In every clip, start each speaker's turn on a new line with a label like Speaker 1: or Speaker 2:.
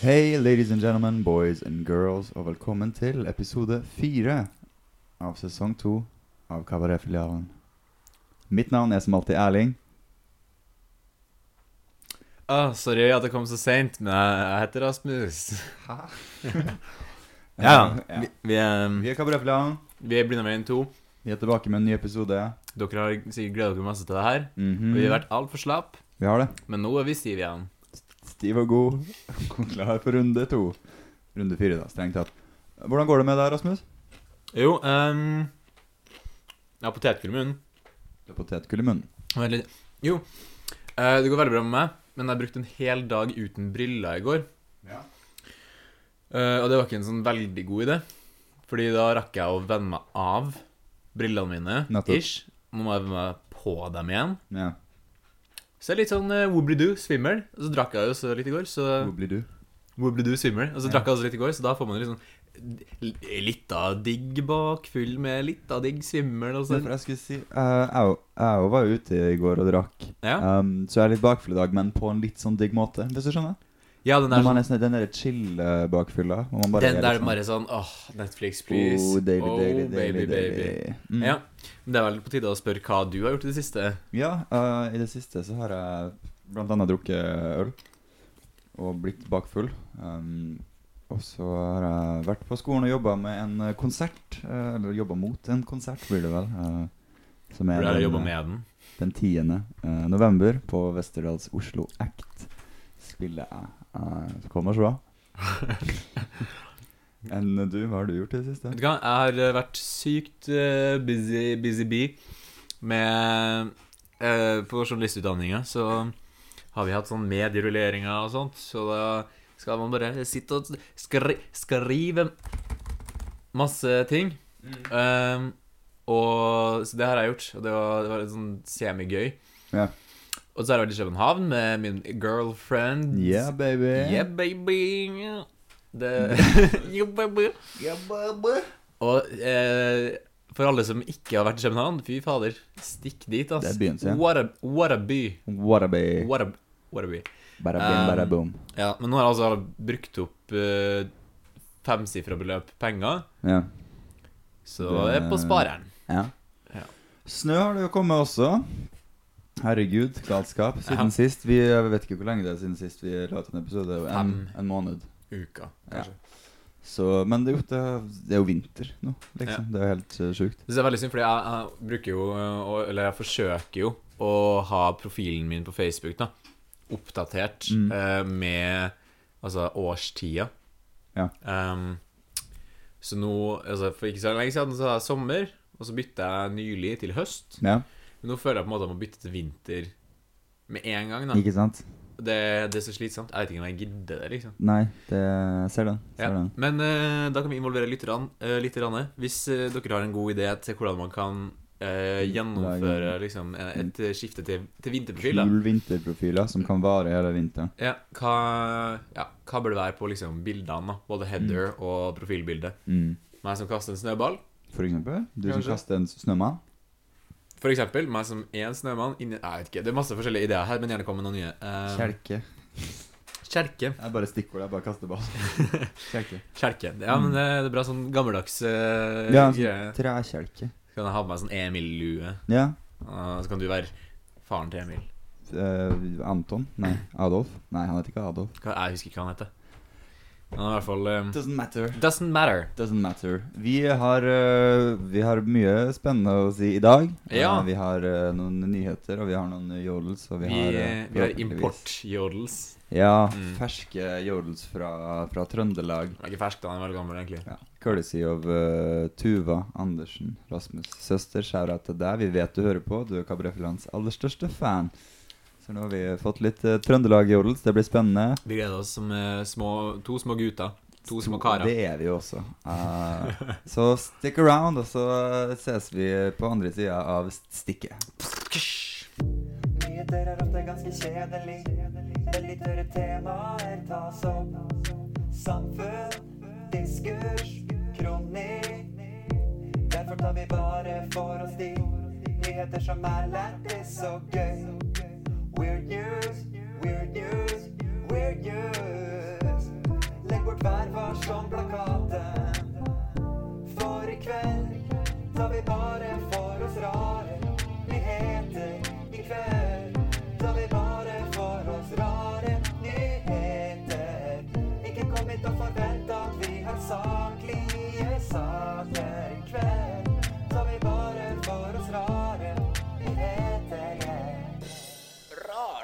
Speaker 1: Hei, ladies and gentlemen, boys and girls, og velkommen til episode fire av sesong to av Kabaretfilialen. Mitt navn er som alltid Erling.
Speaker 2: Ah, sorry at jeg kom så seint, men jeg heter Rasmus. Ja,
Speaker 1: Eh,
Speaker 2: vi, vi, ehm, er,
Speaker 1: Vi er Kabaretfilialen.
Speaker 2: vi er Blinda med inn to.
Speaker 1: Vi er tilbake med en ny episode.
Speaker 2: Dere har sikkert gleda dere masse til det her.
Speaker 1: Mhm.
Speaker 2: Vi har vært altfor slapp,
Speaker 1: Vi har det.
Speaker 2: men nå er vi stive igjen.
Speaker 1: Stiv og god. Klar for runde to. Runde fire, da, strengt tatt. Hvordan går det med deg, Rasmus?
Speaker 2: Jo, ehm Jeg har potetgull i munnen.
Speaker 1: Du har potetgull i munnen.
Speaker 2: Vent litt. Jo, eh, det går veldig bra med meg, men jeg brukte en hel dag uten briller i går.
Speaker 1: Ja.
Speaker 2: Eh, og det var ikke en sånn veldig god idé. Fordi da rakk jeg å venne meg av brillene mine.
Speaker 1: Nettopp.
Speaker 2: Ish. Nå må jeg venne meg på dem igjen.
Speaker 1: ja.
Speaker 2: Så jeg er litt sånn uh, woobly-doo, svimmel. Og så drakk jeg jo så litt i går, så
Speaker 1: Hvor blir du?
Speaker 2: woobly-doo, svimmel. Og så
Speaker 1: Ja.
Speaker 2: drakk jeg også litt i går, så da får man litt sånn eh, litt av digg bak, full med litt av digg svimmel og
Speaker 1: Det er for
Speaker 2: sånn.
Speaker 1: jeg skulle si eh, Jeg jeg var jo ute i går og drakk.
Speaker 2: Ja.
Speaker 1: Um, så jeg er litt bakfull i dag, men på en litt sånn digg måte, hvis du skjønner?
Speaker 2: ja, den
Speaker 1: Når
Speaker 2: der
Speaker 1: man
Speaker 2: sånn
Speaker 1: er sånn, den derre chill-bakfylla. Den
Speaker 2: den der bare sånn åh, Netflix, please.
Speaker 1: Oh, liksom daily,
Speaker 2: Oh,
Speaker 1: daily,
Speaker 2: baby,
Speaker 1: daily,
Speaker 2: baby.
Speaker 1: daily. Mm.
Speaker 2: Ja. Men det er vel på tide å spørre hva du har gjort i det siste.
Speaker 1: Ja, eh, i det siste så har jeg blant annet drukket øl og blitt bakfull. Um, og så har jeg vært på skolen og jobba med en eh, konsert. eh, eller jobba mot en konsert, blir det vel. eh, som
Speaker 2: Hvor du har
Speaker 1: den,
Speaker 2: jobba
Speaker 1: eh,
Speaker 2: med den.
Speaker 1: Den 10. eh, november på Westerdals Oslo Act spiller jeg. Eh, så kommer så bra. Enn eh, du, hva har du gjort i det siste?
Speaker 2: Vet du hva, jeg har eh, vært sykt eh, busy, busy bee med eh, På journalistutdanninga så har vi hatt sånn medierulleringer og sånt, så da skal man bare sitte og skri, skrive masse ting.
Speaker 1: Mm.
Speaker 2: Eh, og Så det har jeg gjort, og det var, det var litt sånn semigøy.
Speaker 1: Ja.
Speaker 2: Og så har jeg vært i København med min girlfriend.
Speaker 1: Yeah, baby.
Speaker 2: Yeah, baby. Det, yeah, baby.
Speaker 1: Yeah, baby.
Speaker 2: Og eh, for alle som ikke har vært i København, fy fader, stikk dit, ass.
Speaker 1: Det er byen sin.
Speaker 2: What a, what a by.
Speaker 1: What a bay.
Speaker 2: What a, what a by.
Speaker 1: Bada bing, bada
Speaker 2: Um,
Speaker 1: boom.
Speaker 2: Ja, men nå har jeg altså brukt opp eh, femsifra beløp penger,
Speaker 1: Ja.
Speaker 2: så
Speaker 1: Det-
Speaker 2: det er på spareren.
Speaker 1: ja.
Speaker 2: Ja.
Speaker 1: Snø har det jo kommet også. Herregud, galskap. Siden
Speaker 2: Ja.
Speaker 1: sist vi Jeg vet ikke hvor lenge det er siden sist vi la ut en episode. En,
Speaker 2: Fem.
Speaker 1: en måned.
Speaker 2: Uka,
Speaker 1: Ja.
Speaker 2: kanskje.
Speaker 1: Så, men det er, jo, det, er, det er jo vinter nå, liksom. Det er jo helt uh, sjukt.
Speaker 2: Det er veldig synd, fordi jeg, jeg bruker jo, eh, å- eller jeg forsøker jo, å ha profilen min på Facebook da, oppdatert
Speaker 1: Mm.
Speaker 2: eh, med altså, årstida.
Speaker 1: Ja.
Speaker 2: Ehm, så nå, altså, for ikke så lenge siden så hadde jeg sommer, og så bytte jeg nylig til høst.
Speaker 1: Ja,
Speaker 2: Men nå føler jeg på en måte at jeg må bytte til vinter med en gang. da.
Speaker 1: ikke sant?
Speaker 2: Det, det er så slitsomt. Jeg vet ikke om jeg gidder det, liksom.
Speaker 1: Nei, det jeg ser den. Ser
Speaker 2: Ja.
Speaker 1: den.
Speaker 2: Men eh, da kan vi involvere lytterne eh, litt. Ranne. Hvis eh, dere har en god idé til hvordan man kan eh, gjennomføre
Speaker 1: Lage-
Speaker 2: liksom, eh, et eh, skifte til, til vinterprofil, da.
Speaker 1: Kul vinterprofiler som kan vare hele vinteren.
Speaker 2: Ja, hva, ja, hva bør det være på liksom, bildene? da? Både header og profilbildet.
Speaker 1: Mm.
Speaker 2: Meg som kaster en snøball,
Speaker 1: For eksempel, du som
Speaker 2: Kanskje.
Speaker 1: kaster en snømann.
Speaker 2: for eksempel. Meg som er en snømann inni Jeg vet ikke, det er masse forskjellige ideer her, men gjerne kom med noen nye. Eh,
Speaker 1: Kjelke.
Speaker 2: Kjelke.
Speaker 1: Jeg bare stikkord, jeg bare kaster ball. Kjelke.
Speaker 2: Kjelke. Ja, men det det er bra sånn gammeldags eh,
Speaker 1: Mm. Ja,
Speaker 2: greie.
Speaker 1: Trekjelke.
Speaker 2: Så kan jeg ha på meg sånn Emil-lue.
Speaker 1: Ja.
Speaker 2: eh, så kan du være faren til Emil.
Speaker 1: eh, Anton? Nei, Adolf? Nei, han heter ikke Adolf.
Speaker 2: Hva, jeg husker ikke hva han heter. Han er i hvert fall eh,
Speaker 1: Doesn't matter.
Speaker 2: Doesn't matter.
Speaker 1: Doesn't matter. Vi har, eh, vi har mye spennende å si i dag.
Speaker 2: Ja.
Speaker 1: Eh, vi har eh, noen nyheter, og vi har noen jodels, og
Speaker 2: Vi,
Speaker 1: vi har eh,
Speaker 2: eh, vi har
Speaker 1: forhåpentligvis-
Speaker 2: import-jodels.
Speaker 1: Ja,
Speaker 2: Mm.
Speaker 1: ferske jodels fra, fra Trøndelag.
Speaker 2: Han er ikke fersk, da. Han er veldig gammel, egentlig.
Speaker 1: Ja. Courtesy of eh, Tuva Andersen, Rasmus' søster. Skjæra til deg. Vi vet du hører på. Du er Kabrefjellands aller største fan. Så nå har vi fått litt eh, Trøndelag-jodels. Det blir spennende.
Speaker 2: Vi gleder oss som eh, små, to små gutter. To små karer.
Speaker 1: Det er vi jo også. Eh, så stick around, og så uh, ses vi på andre sida av stikket.
Speaker 3: Nyheter er ofte ganske kjedelig. Veldig tørre temaer tas opp. Samfunn, diskurs, kronikk. Derfor tar vi bare for oss de nyheter som er lættis og gøy. Weird news, weird news, weird news. vårt vær var som plakaten. For i kveld tar vi bare for oss rare nyheter. I kveld tar vi bare for oss rare nyheter. Ikke kom hit og forvent at vi har saklige saker. I kveld tar vi bare for oss rare nyheter. Yeah.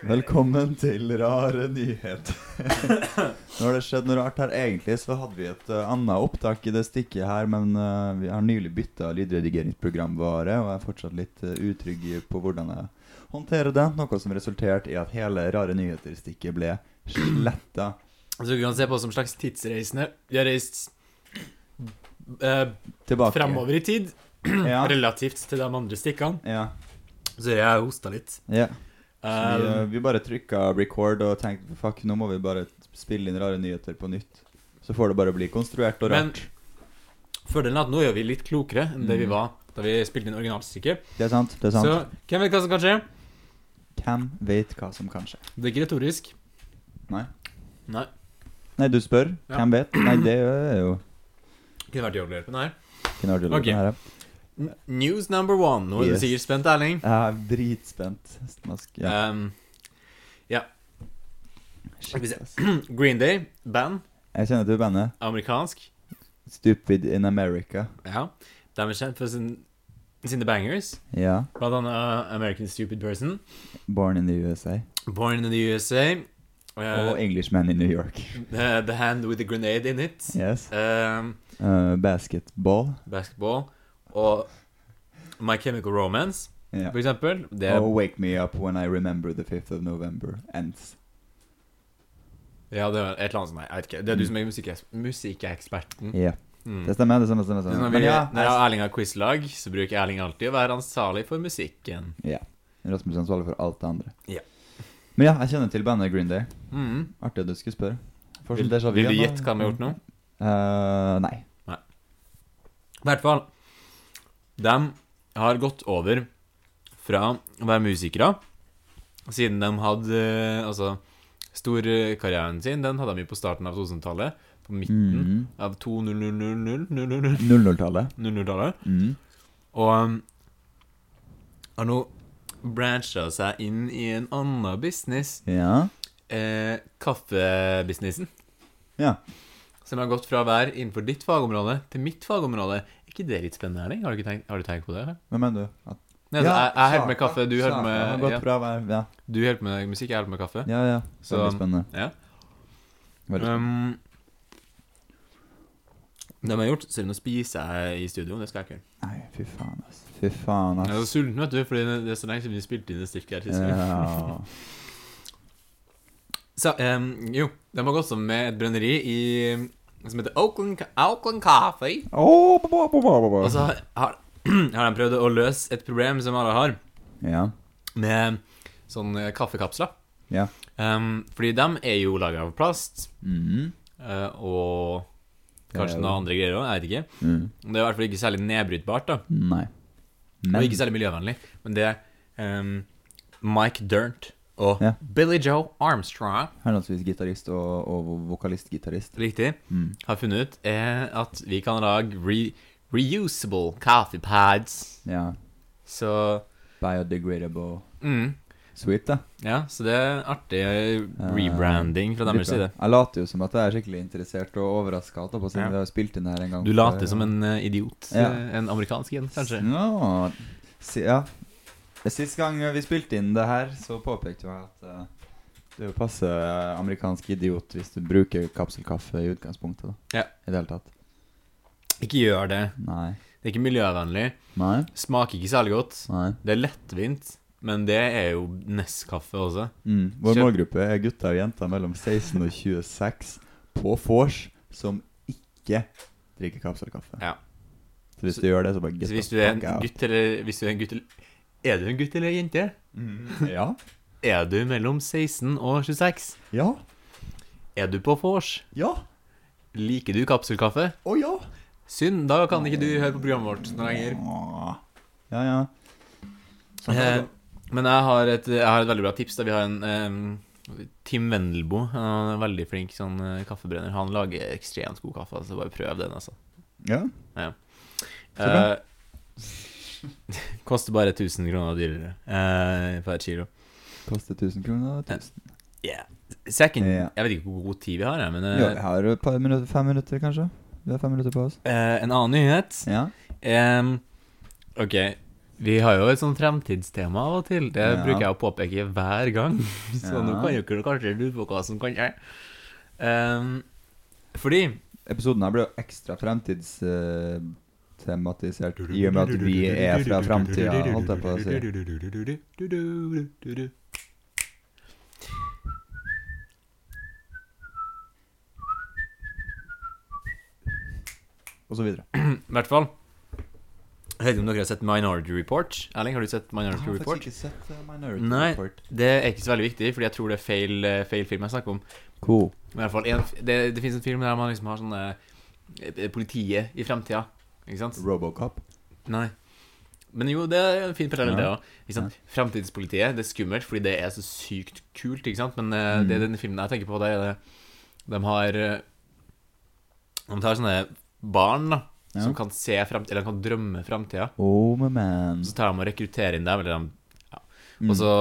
Speaker 1: Velkommen til Rare nyheter. Nå har det skjedd noe rart her. Egentlig så hadde vi et eh, annet opptak i det stikket her, men eh, vi har nylig bytta lydredigeringsprogramvare, og er fortsatt litt eh, utrygg i- på hvordan jeg håndterer det. Noe som resulterte i at hele Rare nyheter-stikket ble sletta.
Speaker 2: Så vi kan se på oss som slags tidsreisende. Vi har reist eh,
Speaker 1: Tilbake.
Speaker 2: framover i tid,
Speaker 1: Ja.
Speaker 2: relativt til de andre stikkene.
Speaker 1: ja.
Speaker 2: Så jeg hosta litt.
Speaker 1: ja. Så vi, eh,
Speaker 2: Eh,
Speaker 1: vi bare trykka record og tenkte fuck, nå må vi bare spille inn Rare nyheter på nytt. Så får det bare bli konstruert og
Speaker 2: Men-
Speaker 1: rart.
Speaker 2: Fordelen er at nå er vi litt klokere enn det vi
Speaker 1: Mm.
Speaker 2: var da vi spilte inn originalstykket.
Speaker 1: Det er sant. Det er sant.
Speaker 2: Så hvem vet hva som kan skje?
Speaker 1: Hvem vet hva som kan skje?
Speaker 2: Det er ikke retorisk.
Speaker 1: Nei.
Speaker 2: Nei.
Speaker 1: Nei, du spør.
Speaker 2: Ja.
Speaker 1: Hvem vet? Nei, det er jo
Speaker 2: Kunne vært jobbhjelpen her.
Speaker 1: ikke noe artig å lure
Speaker 2: Ok.
Speaker 1: på her.
Speaker 2: N- News number one. Nå er
Speaker 1: Yes.
Speaker 2: du sikkert spent, Erling.
Speaker 1: Jeg er dritspent. Snask. Ja.
Speaker 2: Um, Eh, skal vi se.
Speaker 1: Shit, ass.
Speaker 2: Green Day, band,
Speaker 1: Jeg kjenner til bandet
Speaker 2: amerikansk.
Speaker 1: Stupid in America.
Speaker 2: Ja. De er kjent for sin, sine bangers,
Speaker 1: Ja.
Speaker 2: blant annet uh, American Stupid Person,
Speaker 1: Born in the USA.
Speaker 2: Born in the USA, uh,
Speaker 1: Og Englishman in New York.
Speaker 2: uh, The Hand with the Grenade in It,
Speaker 1: Yes.
Speaker 2: um,
Speaker 1: Uh, basketball.
Speaker 2: Basketball, og My Chemical Romance,
Speaker 1: Ja. Oh.
Speaker 2: for eksempel. Det er,
Speaker 1: Og Wake Me Up When I Remember The 5th of November Ends.
Speaker 2: Ja, det er et eller annet sånt, nei, jeg vet ikke. Det er du som er musikkes- musikkeksperten.
Speaker 1: Mm. Ja.
Speaker 2: Mm.
Speaker 1: Det stemmer, det stemmer, det stemmer. det
Speaker 2: Så Når
Speaker 1: stemmer.
Speaker 2: vi,
Speaker 1: Men ja,
Speaker 2: når jeg og Erling har quizlag, så bruker Erling alltid å være ansvarlig for musikken.
Speaker 1: ja. Rasmus er ansvarlig for alt det andre.
Speaker 2: Ja.
Speaker 1: Men ja, jeg kjenner til bandet Green Day.
Speaker 2: Mm.
Speaker 1: Artig at du skulle spørre. Får
Speaker 2: Vil,
Speaker 1: sånn déjà vu
Speaker 2: vil du
Speaker 1: igjen,
Speaker 2: gjette
Speaker 1: da.
Speaker 2: hva de har gjort nå?
Speaker 1: Eh, nei.
Speaker 2: I hvert fall De har gått over fra å være musikere Siden de hadde eh, Altså Storkarrieren sin Den hadde de jo på starten av 2000-tallet På midten
Speaker 1: Mhm.
Speaker 2: av 2000-tallet
Speaker 1: 00-tallet. Mm.
Speaker 2: Og um, Har nå Branscha seg inn i en annen business
Speaker 1: Ja.
Speaker 2: eh, Kaffebusinessen
Speaker 1: Ja.
Speaker 2: Som har gått fra å være innenfor ditt fagområde Til mitt fagområde Er ikke det litt spennende, Erling? Har du, ikke tenkt, har du tenkt på det? eller?
Speaker 1: Hvem mener du? At,
Speaker 2: Nei, altså, jeg, jeg hjelper med kaffe, du hjelper med,
Speaker 1: ja.
Speaker 2: ja,
Speaker 1: Bra, vær- ja,
Speaker 2: du hjelper med musikk, jeg hjelper med kaffe.
Speaker 1: ja. ja.
Speaker 2: Så,
Speaker 1: Veldig spennende.
Speaker 2: ja.
Speaker 1: Veldig spennende.
Speaker 2: Um, det har jeg gjort, så nå spiser jeg i studio, det skal jeg ikke gjøre.
Speaker 1: Nei, fy faen, ass. Fy faen,
Speaker 2: Jeg er så
Speaker 1: ass.
Speaker 2: sulten, vet du, fordi det- det er så lenge siden vi spilte inn det stykket her sist.
Speaker 1: Ja.
Speaker 2: Så, um, jo, de har gått sammen med et brenneri i, som heter Oakland, Oakland Coffee.
Speaker 1: Åh, ba, ba, ba, ba, ba.
Speaker 2: Og så har, har de prøvd å løse et problem som alle har,
Speaker 1: Ja.
Speaker 2: med sånne kaffekapsler.
Speaker 1: Ja.
Speaker 2: Um, fordi de er jo laget av plast,
Speaker 1: Mhm.
Speaker 2: Eh, og kanskje
Speaker 1: Det er jo-
Speaker 2: noen andre greier òg. Jeg vet ikke.
Speaker 1: Mm.
Speaker 2: Det er i hvert fall ikke særlig nedbrytbart. da
Speaker 1: Nei. Men
Speaker 2: Og ikke særlig miljøvennlig. Men det er ehm, Mike Durnt og
Speaker 1: Ja.
Speaker 2: Billy Joe Armstrong
Speaker 1: henholdsvis gitarist og, og vo- vokalist-gitarist.
Speaker 2: riktig,
Speaker 1: Mm.
Speaker 2: har funnet ut, er at vi kan lage re reusable coffee pads.
Speaker 1: Ja.
Speaker 2: Så
Speaker 1: Biodegradable.
Speaker 2: mm,
Speaker 1: Sweet, da.
Speaker 2: Ja, så det er artig eh, rebranding fra
Speaker 1: Dritbra.
Speaker 2: deres side.
Speaker 1: Jeg later jo som at jeg er skikkelig interessert og overraska, siden
Speaker 2: Ja.
Speaker 1: vi har spilt inn det her en gang.
Speaker 2: Du
Speaker 1: før,
Speaker 2: later
Speaker 1: og-
Speaker 2: som en eh, idiot.
Speaker 1: Ja. Mm.
Speaker 2: eh, En amerikansk en, kanskje.
Speaker 1: Nå, si, ja. Sist gang vi spilte inn det her, så påpekte jeg at eh, det er jo passe eh, amerikansk idiot hvis du bruker kapselkaffe i utgangspunktet. da
Speaker 2: Ja.
Speaker 1: I det hele tatt.
Speaker 2: Ikke gjør det.
Speaker 1: Nei.
Speaker 2: Det er ikke miljøvennlig.
Speaker 1: Nei.
Speaker 2: Smaker ikke særlig godt.
Speaker 1: Nei.
Speaker 2: Det er lettvint, men det er jo Nescafé også.
Speaker 1: Mm. Vår
Speaker 2: Kjøp-
Speaker 1: målgruppe er gutter og jenter mellom 16 og 26 på vors som ikke drikker kapselkaffe.
Speaker 2: Ja.
Speaker 1: Så hvis
Speaker 2: Så-
Speaker 1: du gjør det, så bare
Speaker 2: Så
Speaker 1: get
Speaker 2: hvis du
Speaker 1: the
Speaker 2: er en
Speaker 1: fuck out.
Speaker 2: gutt eller hvis du er en gutt eller Er du en gutt eller jente?
Speaker 1: Mm. Ja.
Speaker 2: Er du mellom 16 og 26?
Speaker 1: Ja.
Speaker 2: Er du på vors?
Speaker 1: Ja.
Speaker 2: Liker du kapselkaffe?
Speaker 1: Å ja.
Speaker 2: Synd, da kan ikke du høre på programmet vårt noen lenger.
Speaker 1: Åh. Ja, ja. Sånn er det
Speaker 2: Eh, men jeg har, et, jeg har et veldig bra tips. da Vi har en, eh, Tim Wendelbo, han er en veldig flink sånn eh, kaffebrenner. Han lager ekstremt god kaffe, så bare prøv den, altså.
Speaker 1: Ja, Så bra.
Speaker 2: Eh, koster bare 1000 kroner dyrere eh, per kilo.
Speaker 1: koster 1000 kroner. 1000.
Speaker 2: Yeah. Second,
Speaker 1: Ja.
Speaker 2: Jeg vet ikke hvor god tid vi har, jeg, men eh,
Speaker 1: Ja, vi har et par minutter, fem minutter, kanskje. Vi har fem minutter på oss.
Speaker 2: eh, en annen nyhet
Speaker 1: Ja.
Speaker 2: Em, ok, vi har jo et sånt fremtidstema av og til. Det
Speaker 1: Ja.
Speaker 2: bruker jeg å påpeke hver gang. Så nå
Speaker 1: Ja.
Speaker 2: kan dere kanskje lure på hva som kan skje. Em, fordi
Speaker 1: Episoden her ble jo ekstra fremtidstematisert i og med at vi er fra framtida, holdt jeg på å si.
Speaker 2: si.
Speaker 1: Og så videre.
Speaker 2: I hvert fall. Jeg vet ikke om dere har sett Minority Report? Erling, har du sett Minority Report?
Speaker 1: ikke sett eh, Minority
Speaker 2: Nei.
Speaker 1: Report.
Speaker 2: Det er ikke så veldig viktig, fordi jeg tror det er feil, eh, feil film jeg snakker om.
Speaker 1: Cool.
Speaker 2: Men i hvert fall, en, det, det finnes en film der man liksom har sånne eh, Politiet i fremtida. Ikke sant?
Speaker 1: Robocop.
Speaker 2: Nei. Men jo, det er en fin parallell,
Speaker 1: Ja.
Speaker 2: det òg. Fremtidspolitiet, det er skummelt fordi det er så sykt kult, ikke sant? Men eh, det
Speaker 1: Mm.
Speaker 2: den filmen jeg tenker på, det er det De har eh, De tar sånne barn, da,
Speaker 1: Ja.
Speaker 2: som kan se fremtida, eller kan drømme fremtida.
Speaker 1: Oh, my man.
Speaker 2: Og så tar de og rekrutterer inn dem, eller de
Speaker 1: Mm.
Speaker 2: og så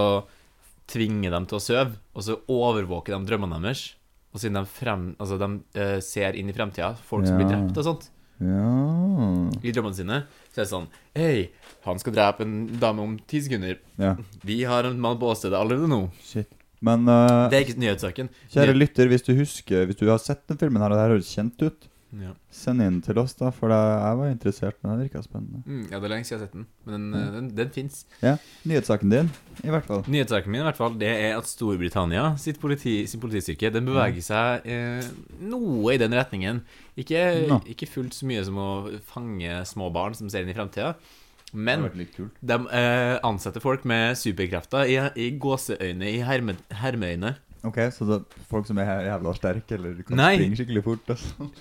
Speaker 2: tvinger dem til å sove, og så overvåker de drømmene deres. Og siden de, frem, altså de eh, ser inn i fremtida, folk som blir
Speaker 1: Ja.
Speaker 2: drept og sånt,
Speaker 1: Ja.
Speaker 2: i drømmene sine, så er det sånn Hei, han skal drepe en dame om ti sekunder.
Speaker 1: ja.
Speaker 2: Vi har en mann på åstedet allerede nå.
Speaker 1: Shit. Men eh,
Speaker 2: Det er ikke nyhetssaken.
Speaker 1: kjære lytter, hvis du husker Hvis du har sett den filmen her, og det her høres kjent ut,
Speaker 2: Ja.
Speaker 1: send inn til oss, da, for det, jeg var interessert. Men det virka spennende.
Speaker 2: Mm, ja, det er lenge siden jeg har sett den, men den, eh, den, den fins.
Speaker 1: Nyhetssaken din, i hvert fall.
Speaker 2: Nyhetssaken min i hvert fall, det er at Storbritannia sitt politi, sin politistyrke den beveger seg eh, noe i den retningen. Ikke,
Speaker 1: Nå.
Speaker 2: ikke fullt så mye som å fange små barn som ser inn i framtida, men
Speaker 1: vært litt kult.
Speaker 2: de eh, ansetter folk med superkrefter i, i gåseøyne, i herme, hermeøyne.
Speaker 1: Ok, så det er folk som er jæ- jævla sterke, eller kan
Speaker 2: Nei.
Speaker 1: springe skikkelig fort og sånn.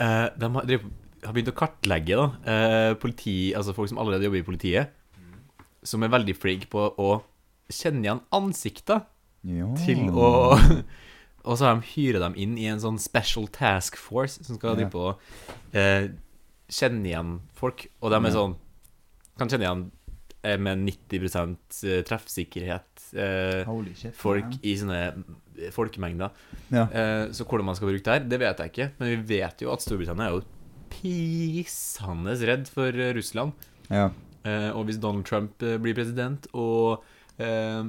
Speaker 2: Eh, de har, driver- har begynt å kartlegge da, eh, politi, altså folk som allerede jobber i politiet, som er veldig flinke på å kjenne igjen ansikter.
Speaker 1: Ja.
Speaker 2: til å Og så har de hyret dem inn i en sånn special task force som skal
Speaker 1: Ja.
Speaker 2: drive på og eh, kjenne igjen folk. Og de er
Speaker 1: Ja.
Speaker 2: sånn Kan kjenne igjen eh, med 90 treffsikkerhet eh,
Speaker 1: Holy shit.
Speaker 2: folk i sånne eh, folkemengder.
Speaker 1: Ja.
Speaker 2: Eh, så hvordan man skal bruke det her, det vet jeg ikke. Men vi vet jo at Storbritannia er jo pissende redd for eh, Russland.
Speaker 1: ja.
Speaker 2: Eh, og hvis Donald Trump eh, blir president, og, eh,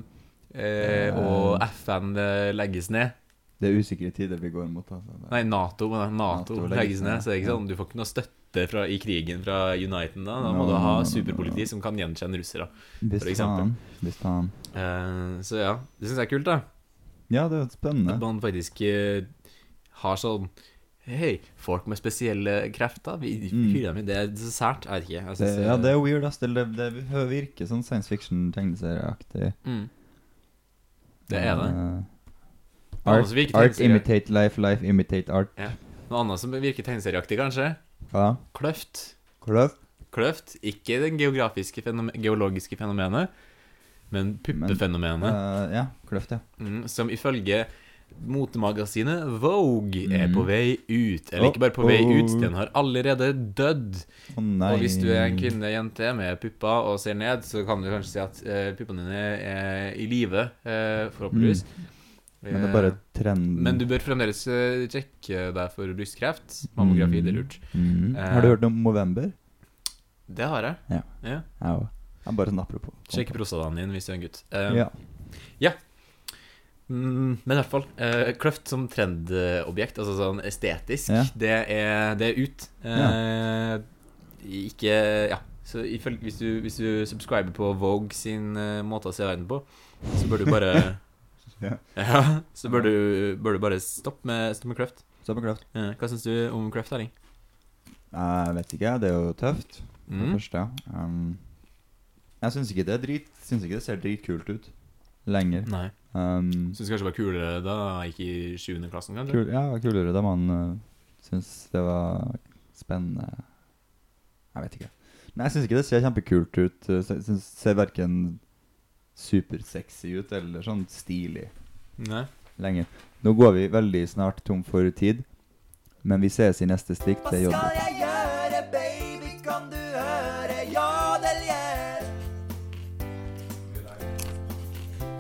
Speaker 2: eh, og FN eh, legges ned
Speaker 1: Det er usikre tider vi går mot. Altså.
Speaker 2: Nei, Nato, men det er NATO,
Speaker 1: NATO
Speaker 2: legges ned, så det er ikke sånn, du får ikke noe støtte fra, i krigen fra Uniten da. Da må
Speaker 1: No,
Speaker 2: du ha
Speaker 1: no, no,
Speaker 2: superpoliti som kan gjenkjenne russere.
Speaker 1: Hvis
Speaker 2: for eksempel.
Speaker 1: faen. Hvis faen.
Speaker 2: Eh, så ja, det syns jeg er kult, da.
Speaker 1: Ja, det er jo spennende.
Speaker 2: At man faktisk eh, har sånn Hei, folk med spesielle krefter, vi
Speaker 1: Mm.
Speaker 2: hyrer dem inn. Det er så sært. Jeg vet ikke. Jeg
Speaker 1: Det,
Speaker 2: synes,
Speaker 1: ja,
Speaker 2: eh,
Speaker 1: det er weird, ass. Det, det, det virker sånn science fiction-tegneserieaktig.
Speaker 2: mm. Det er det. altså,
Speaker 1: Eh,
Speaker 2: Noe
Speaker 1: art,
Speaker 2: annet som virker
Speaker 1: art
Speaker 2: tegneserie-
Speaker 1: imitate life, life imitate art.
Speaker 2: Noe annet som virker tegneserieaktig, kanskje?
Speaker 1: Ja.
Speaker 2: Kløft.
Speaker 1: Kløft.
Speaker 2: Kløft, ikke det geografiske fenome- geologiske fenomenet, men puppefenomenet,
Speaker 1: Eh, ja, kløft, ja.
Speaker 2: mm, som ifølge motemagasinet Vogue er
Speaker 1: Mm.
Speaker 2: på vei ut. Eller ikke bare på vei ut, den har allerede dødd.
Speaker 1: Å nei.
Speaker 2: Og hvis du er en kvinne, jente med pupper og ser ned, så kan du kanskje si at eh, puppene dine er i live, eh, forhåpentligvis.
Speaker 1: Mm.
Speaker 2: Eh,
Speaker 1: Men det er bare trenden.
Speaker 2: Men du bør fremdeles eh, sjekke deg for brystkreft. Mammografi, det er lurt.
Speaker 1: Mm.
Speaker 2: Eh,
Speaker 1: Har du hørt om Movember?
Speaker 2: Det har jeg.
Speaker 1: Ja. Ja, jo. Ja, bare sånn apropos.
Speaker 2: Sjekk prostataen din hvis du er en gutt. Eh,
Speaker 1: Ja.
Speaker 2: Mm, men i hvert fall, eh, kløft som trendobjekt, altså sånn estetisk,
Speaker 1: Ja.
Speaker 2: det, er, det er ut. Eh, Ikke Ja. Så ifølge, hvis, du, hvis du subscriber på Vogue sin eh, måte å se verden på, så bør du bare
Speaker 1: Ja.
Speaker 2: Ja, så bør du, bør du bare stoppe med, stopp med kløft.
Speaker 1: Så på kløft.
Speaker 2: Eh, hva syns du om kløft, Erling?
Speaker 1: Jeg vet ikke, det er jo tøft. For det
Speaker 2: Mm.
Speaker 1: første. Um, jeg syns ikke det er drit Syns ikke det ser dritkult ut lenger.
Speaker 2: Nei.
Speaker 1: Um,
Speaker 2: Mm. Syns kanskje det var kulere da jeg gikk i sjuende klassen, kanskje?
Speaker 1: kul, ja, kulere da man uh, syns det var spennende Jeg vet ikke. Nei, jeg syns ikke det ser kjempekult ut. Uh, sy- syns- ser verken supersexy ut eller sånn stilig
Speaker 2: Nei.
Speaker 1: lenge. Nå går vi veldig snart tom for tid, men vi ses i neste stikk.
Speaker 3: Hva
Speaker 1: Det er jobb.
Speaker 3: skal jeg gjøre, baby, kan du høre? Jodeljer.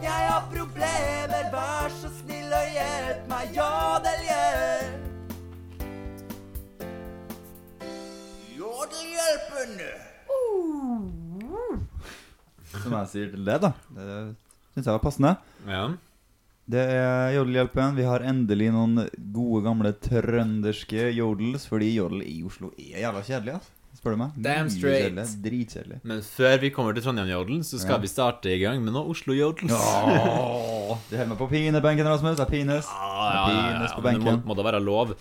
Speaker 3: Jeg har problemer, vær så snill og hjelp meg, jodeljer. Jodelhjelpen.
Speaker 1: Som jeg sier til det, da. Det syns jeg var passende.
Speaker 2: Ja.
Speaker 1: Det er Jodelhjelpen. Vi har endelig noen gode, gamle trønderske jodels, fordi jodel i Oslo er jævla kjedelig, ass. Spør du meg.
Speaker 2: Damn
Speaker 1: Mye
Speaker 2: straight.
Speaker 1: kjedelig, Dritkjedelig.
Speaker 2: Men før vi kommer til Trondheim-jodelen, så
Speaker 1: Ja.
Speaker 2: skal vi starte i gang med noe Oslo-jodels.
Speaker 1: Åh, Du holder meg på pinebenken, Rasmus. Jeg pines.
Speaker 2: Ja, ja, ja,
Speaker 1: Penis
Speaker 2: ja,
Speaker 1: på
Speaker 2: men det må,
Speaker 1: benken.
Speaker 2: må da være lov.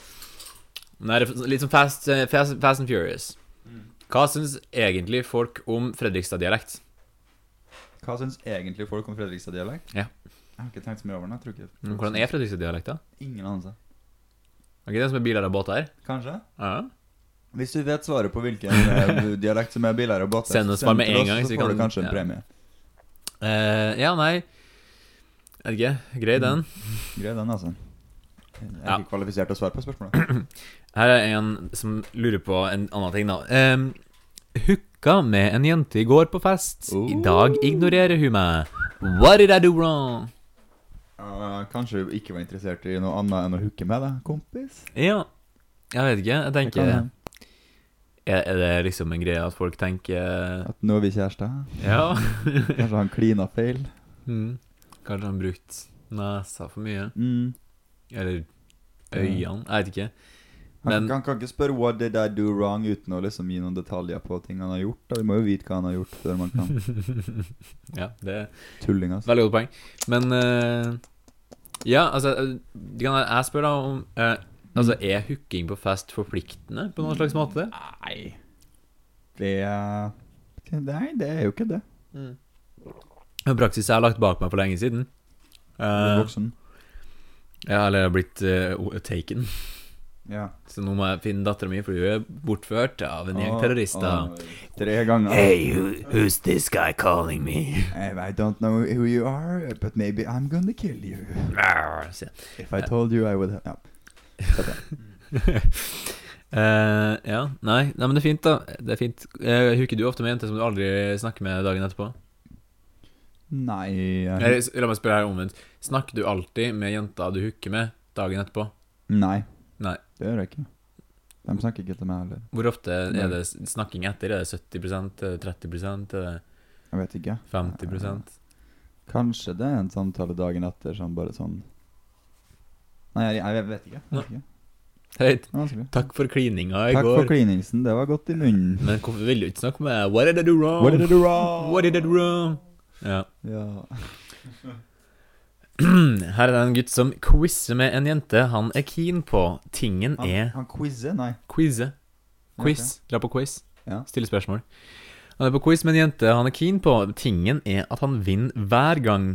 Speaker 2: Men det er litt som fast, eh, fast, fast and Furious.
Speaker 1: Mm.
Speaker 2: Hva syns egentlig folk om Fredrikstad-dialekt?
Speaker 1: Hva syns egentlig folk om Fredrikstad-dialekt?
Speaker 2: Ja.
Speaker 1: Jeg har ikke tenkt så mye over den. jeg tror ikke
Speaker 2: Men Mm, Hvordan er Fredrikstad-dialekta?
Speaker 1: Ingen anelse.
Speaker 2: Er ikke det som er biler og båter?
Speaker 1: Kanskje?
Speaker 2: Ja.
Speaker 1: Hvis du vet svaret på hvilken eh, dialekt som er billigere og båtere,
Speaker 2: Send oss bare med en gang,
Speaker 1: så
Speaker 2: så vi
Speaker 1: får
Speaker 2: kan-
Speaker 1: du kanskje en
Speaker 2: ja.
Speaker 1: premie.
Speaker 2: Eh, ja, nei Er det ikke?
Speaker 1: Mm.
Speaker 2: Grei den.
Speaker 1: Grei den, altså. Jeg er
Speaker 2: Ja.
Speaker 1: ikke kvalifisert til å svare på spørsmålet.
Speaker 2: Her er en som lurer på en annen ting, da. Um, Hooka med en jente i går på fest. I dag ignorerer hun meg. What did I do wrong?
Speaker 1: Eh, kanskje du ikke var interessert i noe annet enn å hooke med deg, kompis?
Speaker 2: Ja, jeg vet ikke. Jeg
Speaker 1: Det
Speaker 2: tenker
Speaker 1: kan
Speaker 2: er,
Speaker 1: hende.
Speaker 2: er det liksom en greie at folk tenker
Speaker 1: At nå er vi kjærester.
Speaker 2: Ja.
Speaker 1: Kanskje han klina feil.
Speaker 2: Mm. Kanskje han brukte nesa for mye.
Speaker 1: Mm.
Speaker 2: Eller øynene. Jeg vet ikke.
Speaker 1: Han,
Speaker 2: Men-
Speaker 1: han kan ikke spørre 'what did I do wrong' uten å liksom gi noen detaljer på ting han har gjort. Da. Vi må jo vite hva han har gjort, før man kan
Speaker 2: Ja, det er
Speaker 1: tulling. Altså.
Speaker 2: Veldig godt poeng. Men eh, Ja, altså eh, det kan være- Jeg spør da om eh, Altså, Er hooking på fest forpliktende på noen slags måte?
Speaker 1: Nei. Det er- Nei, det er jo ikke det.
Speaker 2: En praksis jeg har lagt bak meg for lenge siden.
Speaker 1: Du er
Speaker 2: Eh,
Speaker 1: voksen.
Speaker 2: ja, eller jeg har blitt eh, o- taken.
Speaker 1: Ja.
Speaker 2: Så nå må jeg finne dattera mi, for hun er bortført av en gjeng
Speaker 1: Åh, ah,
Speaker 2: terrorister.
Speaker 1: åh, Tre ganger.
Speaker 2: who, who's this guy calling me?
Speaker 1: Eh, I don't know who you are, but maybe I'm gonna kill you.
Speaker 2: sier jeg.
Speaker 1: If I told you I would ja.
Speaker 2: Eh, ja, nei, nei, men det er fint, da. Det er fint. Eh, hooker du ofte med jenter som du aldri snakker med dagen etterpå?
Speaker 1: Nei. eh,
Speaker 2: Eller, s- la meg spørre her omvendt. Snakker du alltid med jenta du hooker med dagen etterpå?
Speaker 1: Nei.
Speaker 2: Nei.
Speaker 1: Det gjør jeg ikke. De snakker ikke til meg heller.
Speaker 2: Hvor ofte
Speaker 1: Nei.
Speaker 2: er det s- snakking etter? Er det 70 er det 30 er det
Speaker 1: Jeg vet ikke.
Speaker 2: 50
Speaker 1: Kanskje det er en samtale dagen etter som bare sånn Nei, jeg, jeg vet ikke. Jeg vet ikke.
Speaker 2: Hei,
Speaker 1: Det er vanskelig.
Speaker 2: takk for klininga i
Speaker 1: Takk for
Speaker 2: går.
Speaker 1: kliningsen. Det var godt i munnen.
Speaker 2: Men hvorfor vil du ikke snakke med meg? What did I do wrong?
Speaker 1: What did I do wrong?
Speaker 2: What did I do wrong? Ja.
Speaker 1: Ja.
Speaker 2: Her er det en gutt som quizer med en jente han er keen på. Tingen
Speaker 1: Han,
Speaker 2: er
Speaker 1: han quizer? Nei.
Speaker 2: Quize. Quiz. Dra på quiz.
Speaker 1: Ja.
Speaker 2: Stille spørsmål. Han er på quiz med en jente han er keen på. Tingen er at han vinner hver gang.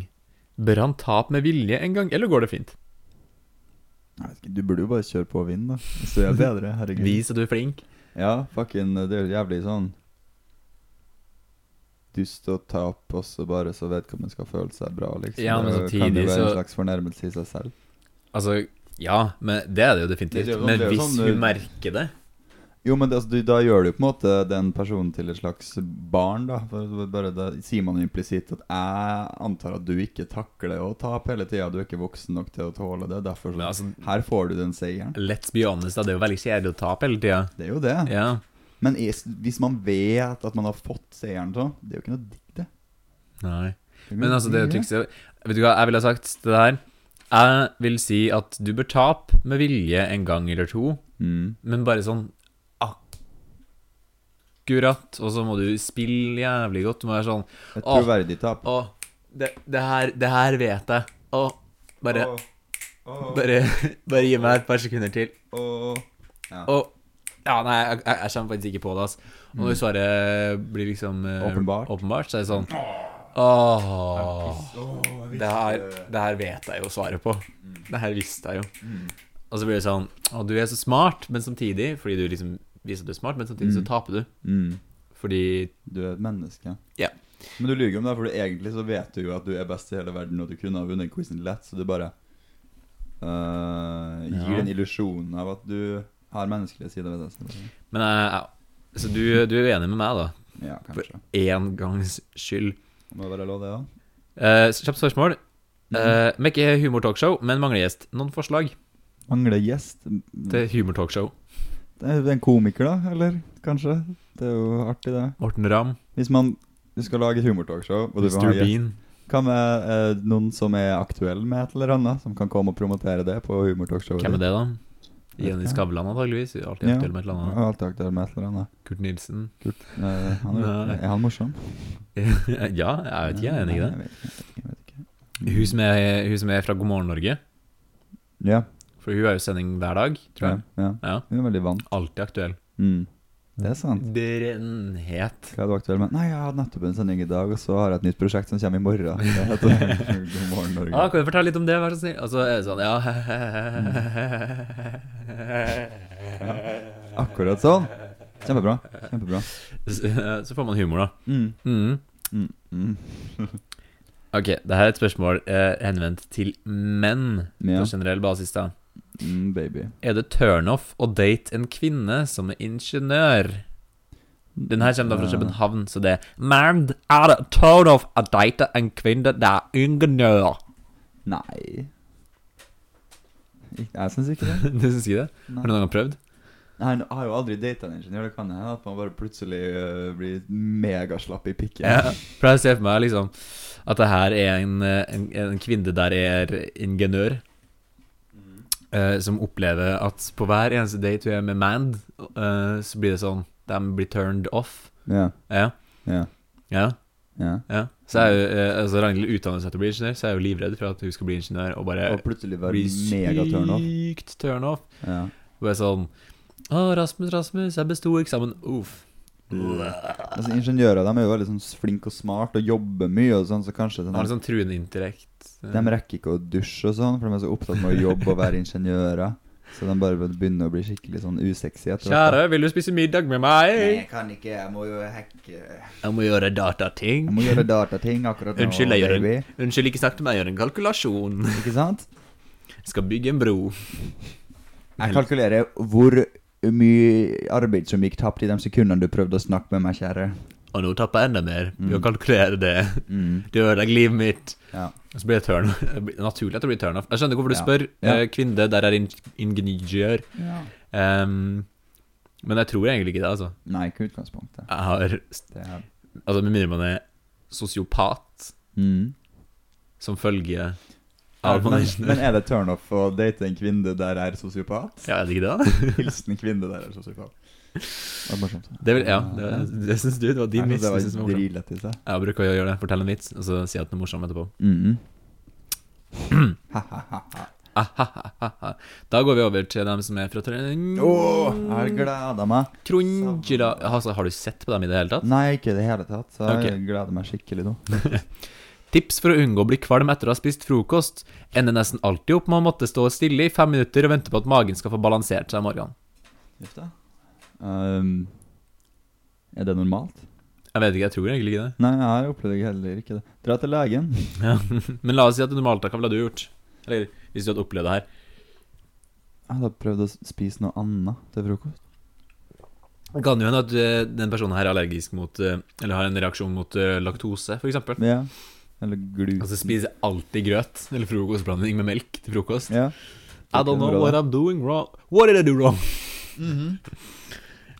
Speaker 2: Bør han tape med vilje en gang, eller går det fint?
Speaker 1: Jeg vet ikke, du burde jo bare kjøre på og vinne, da. Hvis du er bedre. Herregud.
Speaker 2: Vis at du er flink.
Speaker 1: Ja, fucking Det er jo jævlig sånn Dust og tap også, bare så vedkommende skal føle seg bra, liksom.
Speaker 2: Ja, men
Speaker 1: Det kan
Speaker 2: samtidig
Speaker 1: jo være
Speaker 2: så-
Speaker 1: en slags fornærmelse i seg selv.
Speaker 2: Altså, ja, men det er det jo definitivt.
Speaker 1: Det er jo sånn-
Speaker 2: men
Speaker 1: det er jo
Speaker 2: hvis
Speaker 1: sånn,
Speaker 2: hun
Speaker 1: eh,
Speaker 2: merker det
Speaker 1: Jo, men det, altså, du, da gjør du jo på en måte den personen til et slags barn, da. For det- bare Da sier man jo implisitt at 'jeg antar at du ikke takler å tape hele tida', 'du er ikke voksen nok til å tåle det', derfor så
Speaker 2: Men altså,
Speaker 1: Her får du den seieren.
Speaker 2: Let's be honest, da. Det er jo veldig kjedelig å tape hele tida.
Speaker 1: Det er jo det.
Speaker 2: Ja.
Speaker 1: Men er, hvis man vet at man har fått seieren sånn, det er jo ikke noe digg, det. Det
Speaker 2: Nei.
Speaker 1: er jo ikke
Speaker 2: Men
Speaker 1: noe
Speaker 2: altså, det er jo
Speaker 1: digg,
Speaker 2: trikset Vet du hva jeg ville ha sagt til det her? Jeg vil si at du bør tape med vilje en gang eller to,
Speaker 1: Mm.
Speaker 2: men bare sånn akkurat. Og så må du spille jævlig godt. Du må være sånn
Speaker 1: Et
Speaker 2: Åh.
Speaker 1: troverdig tap.
Speaker 2: Å, det, det, her, det her vet jeg. Å, bare,
Speaker 1: Åh, åh,
Speaker 2: bare, bare gi meg et par sekunder til.
Speaker 1: åh.
Speaker 2: Og Ja, nei, jeg, jeg, jeg kommer faktisk ikke på det, altså. Og når svaret blir liksom eh,
Speaker 1: Åpenbart.
Speaker 2: åpenbart, så er det sånn Åh det her, det her vet jeg jo svaret på. Det her visste jeg jo. Mm. Og så blir det sånn Å, du er så smart, men samtidig Fordi Mm. du liksom viser at du er smart, men samtidig så taper du.
Speaker 1: Mm.
Speaker 2: Fordi
Speaker 1: Du er et menneske.
Speaker 2: Ja.
Speaker 1: Men du lyver om det, for egentlig så vet du jo at du er best i hele verden, og du kunne ha vunnet quizen lett, så du bare øh, gir
Speaker 2: Ja.
Speaker 1: den illusjonen av at du har menneskelige sider ved det.
Speaker 2: Men jeg, jeg- så du, du er enig med meg, da.
Speaker 1: Ja, kanskje.
Speaker 2: Én gangs skyld.
Speaker 1: Må det være lov, det, da?
Speaker 2: Eh, kjapt spørsmål. Uh, Mekke humortalkshow, men mangler gjest. Noen forslag
Speaker 1: Mhm. Mangler gjest.
Speaker 2: til humortalkshow?
Speaker 1: Det er jo en komiker, da? Eller kanskje? Det er jo artig, det.
Speaker 2: Morten Ramm,
Speaker 1: Hvis man du skal lage et humortalkshow og du vil ha
Speaker 2: Mr.
Speaker 1: gjest,
Speaker 2: Bean.
Speaker 1: Hva med eh, noen som er aktuell med et eller annet, som kan komme og promotere det på humortalkshowet?
Speaker 2: Hvem er det, da?
Speaker 1: Vet
Speaker 2: Jenny
Speaker 1: ikke.
Speaker 2: Skavlan, antakeligvis. Hun er Alltid
Speaker 1: Ja.
Speaker 2: aktuell med et eller annet.
Speaker 1: Ja, Alltid aktuell med et eller annet.
Speaker 2: Kurt Nilsen.
Speaker 1: Eh, han er,
Speaker 2: Nei.
Speaker 1: er han morsom?
Speaker 2: ja, jeg vet ikke, jeg er
Speaker 1: Nei,
Speaker 2: enig i det.
Speaker 1: jeg vet ikke, jeg vet ikke.
Speaker 2: Hun som er, hun som er fra God morgen Norge,
Speaker 1: Ja,
Speaker 2: for hun har jo sending hver dag, tror
Speaker 1: ja,
Speaker 2: jeg.
Speaker 1: ja.
Speaker 2: Ja,
Speaker 1: Hun er veldig vant.
Speaker 2: Alltid aktuell.
Speaker 1: Mm. Det er sant.
Speaker 2: Brennhet.
Speaker 1: Hva er du aktuell med? Nei, jeg hadde nettopp en sending i dag, og så har jeg et nytt prosjekt som kommer i morgen. Det heter God morgen, Norge.
Speaker 2: Ah, kan du fortelle litt om det, vær så snill? Altså, er det sånn, ja
Speaker 1: Akkurat sånn. Kjempebra. Kjempebra.
Speaker 2: Så så får man humor, da.
Speaker 1: Mm.
Speaker 2: Mm.
Speaker 1: Mm. Mm.
Speaker 2: Ok, det her er et spørsmål eh, henvendt til menn
Speaker 1: Ja.
Speaker 2: på generell basis. da
Speaker 1: Mm, baby.
Speaker 2: Er det turnoff å date en kvinne som er ingeniør? Den her kommer da fra
Speaker 1: Eh,
Speaker 2: København, så det er Men er det turnoff å date en kvinne der er ingeniør?
Speaker 1: Nei. Ik jeg syns ikke det.
Speaker 2: du syns ikke det? Har du
Speaker 1: Nei.
Speaker 2: noen gang prøvd?
Speaker 1: Nei, jeg har jo aldri data en ingeniør. Det kan hende at man bare plutselig øh, blir megaslapp i pikken.
Speaker 2: Ja. For jeg ser for meg liksom at det her er en, eh, en, en kvinne der er ingeniør. eh, som opplever at på hver eneste date hun er med Mand, eh, så blir det sånn De blir turned off.
Speaker 1: Ja.
Speaker 2: Ja.
Speaker 1: Ja.
Speaker 2: ja,
Speaker 1: ja.
Speaker 2: ja. Så er jo, eh, altså Ragnhild utdanner seg til å bli ingeniør, så er jeg jo livredd for at hun skal bli ingeniør og bare
Speaker 1: Og plutselig være
Speaker 2: bli
Speaker 1: megaturnoff.
Speaker 2: sykt turn off.
Speaker 1: Ja.
Speaker 2: Hun er sånn Å, Rasmus, Rasmus, jeg besto eksamen. Uff.
Speaker 1: Altså, ingeniører de er jo veldig sånn flinke og smart og jobber mye, og sånn, så kanskje sånn,
Speaker 2: Har sånn, eh, litt sånn truende intellekt.
Speaker 1: de rekker ikke å dusje og sånn, for de er så opptatt med å jobbe og være ingeniører. Så de bare begynner å bli skikkelig sånn usexy etter hvert.
Speaker 2: Kjære, vil du spise middag med meg?
Speaker 1: jeg kan ikke, jeg må jo eh. hacke Jeg
Speaker 2: Jeg må gjøre datating.
Speaker 1: må gjøre datating akkurat nå,
Speaker 2: Unnskyld, jeg gjør
Speaker 1: baby.
Speaker 2: en Unnskyld, ikke snakk til meg, jeg gjør en kalkulasjon.
Speaker 1: Ikke sant?
Speaker 2: Jeg skal bygge en bro.
Speaker 1: Jeg kalkulerer hvor mye arbeid som gikk tapt i de sekundene du prøvde å snakke med meg, kjære.
Speaker 2: Og nå tapper jeg enda mer ved å kalkulere det.
Speaker 1: Mm.
Speaker 2: Du ødelegger livet mitt.
Speaker 1: Ja.
Speaker 2: Og så blir det turn det blir Naturlig at det blir turnoff. Jeg skjønner hvorfor du
Speaker 1: Ja.
Speaker 2: spør.
Speaker 1: Ja.
Speaker 2: eh, Kvinne, der er ing- ingeniør. Ehm, men jeg tror egentlig ikke det, altså.
Speaker 1: Nei, ikke utgangspunktet.
Speaker 2: Jeg har
Speaker 1: Det er
Speaker 2: Altså, med mindre man er sosiopat
Speaker 1: mm.
Speaker 2: som følge
Speaker 1: Ja,
Speaker 2: av
Speaker 1: men, men
Speaker 2: management.
Speaker 1: er det turnoff å date en kvinne der er sosiopat?
Speaker 2: Ja, er det ikke det?
Speaker 1: Hilsen kvinne der er sosiopat. Det var morsomt.
Speaker 2: Det, vil, ja, det, det syns du. Det var din
Speaker 1: Jeg
Speaker 2: vits.
Speaker 1: synes
Speaker 2: Det
Speaker 1: Det
Speaker 2: synes jeg var
Speaker 1: var
Speaker 2: morsom.
Speaker 1: dritlættis, det.
Speaker 2: Jeg bruker å gjøre det. Fortell en vits, og så si at den er morsom etterpå.
Speaker 1: Mm.
Speaker 2: Ahahaha. Da går vi over til dem som er fra Trøndelag.
Speaker 1: Åh, jeg har gleda meg.
Speaker 2: Altså, har du sett på dem i det hele tatt?
Speaker 1: Nei, ikke i det hele tatt. Så jeg
Speaker 2: Ok.
Speaker 1: gleder meg skikkelig nå.
Speaker 2: Tips for å unngå å bli kvalm etter å ha spist frokost. Ender nesten alltid opp med å måtte stå stille i fem minutter og vente på at magen skal få balansert seg om morgenen.
Speaker 1: Um, er det normalt?
Speaker 2: Jeg vet ikke, jeg tror egentlig ikke det.
Speaker 1: Nei, jeg har opplevd det heller ikke. det Dra til legen.
Speaker 2: Ja. Men la oss si at det normalt, da, hva ville du gjort? Eller hvis du hadde opplevd det her.
Speaker 1: Jeg hadde prøvd å spise noe annet til frokost.
Speaker 2: Det kan jo hende at eh, den personen her er allergisk mot eh, Eller har en reaksjon mot eh, laktose, f.eks.
Speaker 1: Ja. Eller gluten.
Speaker 2: Altså spiser alltid grøt eller frokostblanding med melk til frokost.
Speaker 1: ja.
Speaker 2: I don't know what I'm doing wrong. What did I do wrong?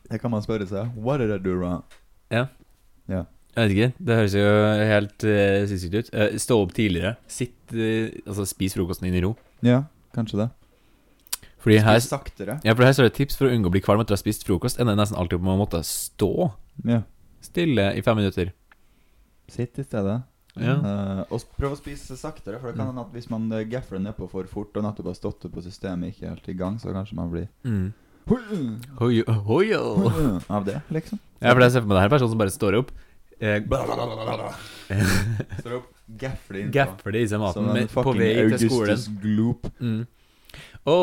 Speaker 1: Det kan man spørre seg. What did I do wrong?
Speaker 2: Jeg vet ikke. Det høres jo helt uh, sinnssykt ut. Eh, stå opp tidligere. Sitt eh, Altså, spis frokosten din i ro.
Speaker 1: Ja, kanskje det.
Speaker 2: Fordi her
Speaker 1: Spis saktere.
Speaker 2: Ja, for her står det tips for å unngå å bli kvalm etter å ha spist frokost. Ender nesten alltid opp med å måtte stå
Speaker 1: Ja.
Speaker 2: stille i fem minutter.
Speaker 1: Sitt i stedet.
Speaker 2: Ja.
Speaker 1: Eh, og s- prøv å spise saktere, for det
Speaker 2: Mm.
Speaker 1: kan hende at hvis man eh, gaffer nedpå for fort, og nettopp har stått på systemet ikke helt i gang, så kanskje man blir
Speaker 2: Mm. Hoi, hoi, hoi.
Speaker 1: av det, liksom.
Speaker 2: Ja, for jeg ser for meg det her er personen som bare står opp, eh,
Speaker 1: Står opp, gaffer det innpå.
Speaker 2: gaffer det i seg
Speaker 1: Som
Speaker 2: maten
Speaker 1: en
Speaker 2: med, på
Speaker 1: fucking
Speaker 2: vei til skolen.
Speaker 1: Augustus Gloop.
Speaker 2: Mm. Å,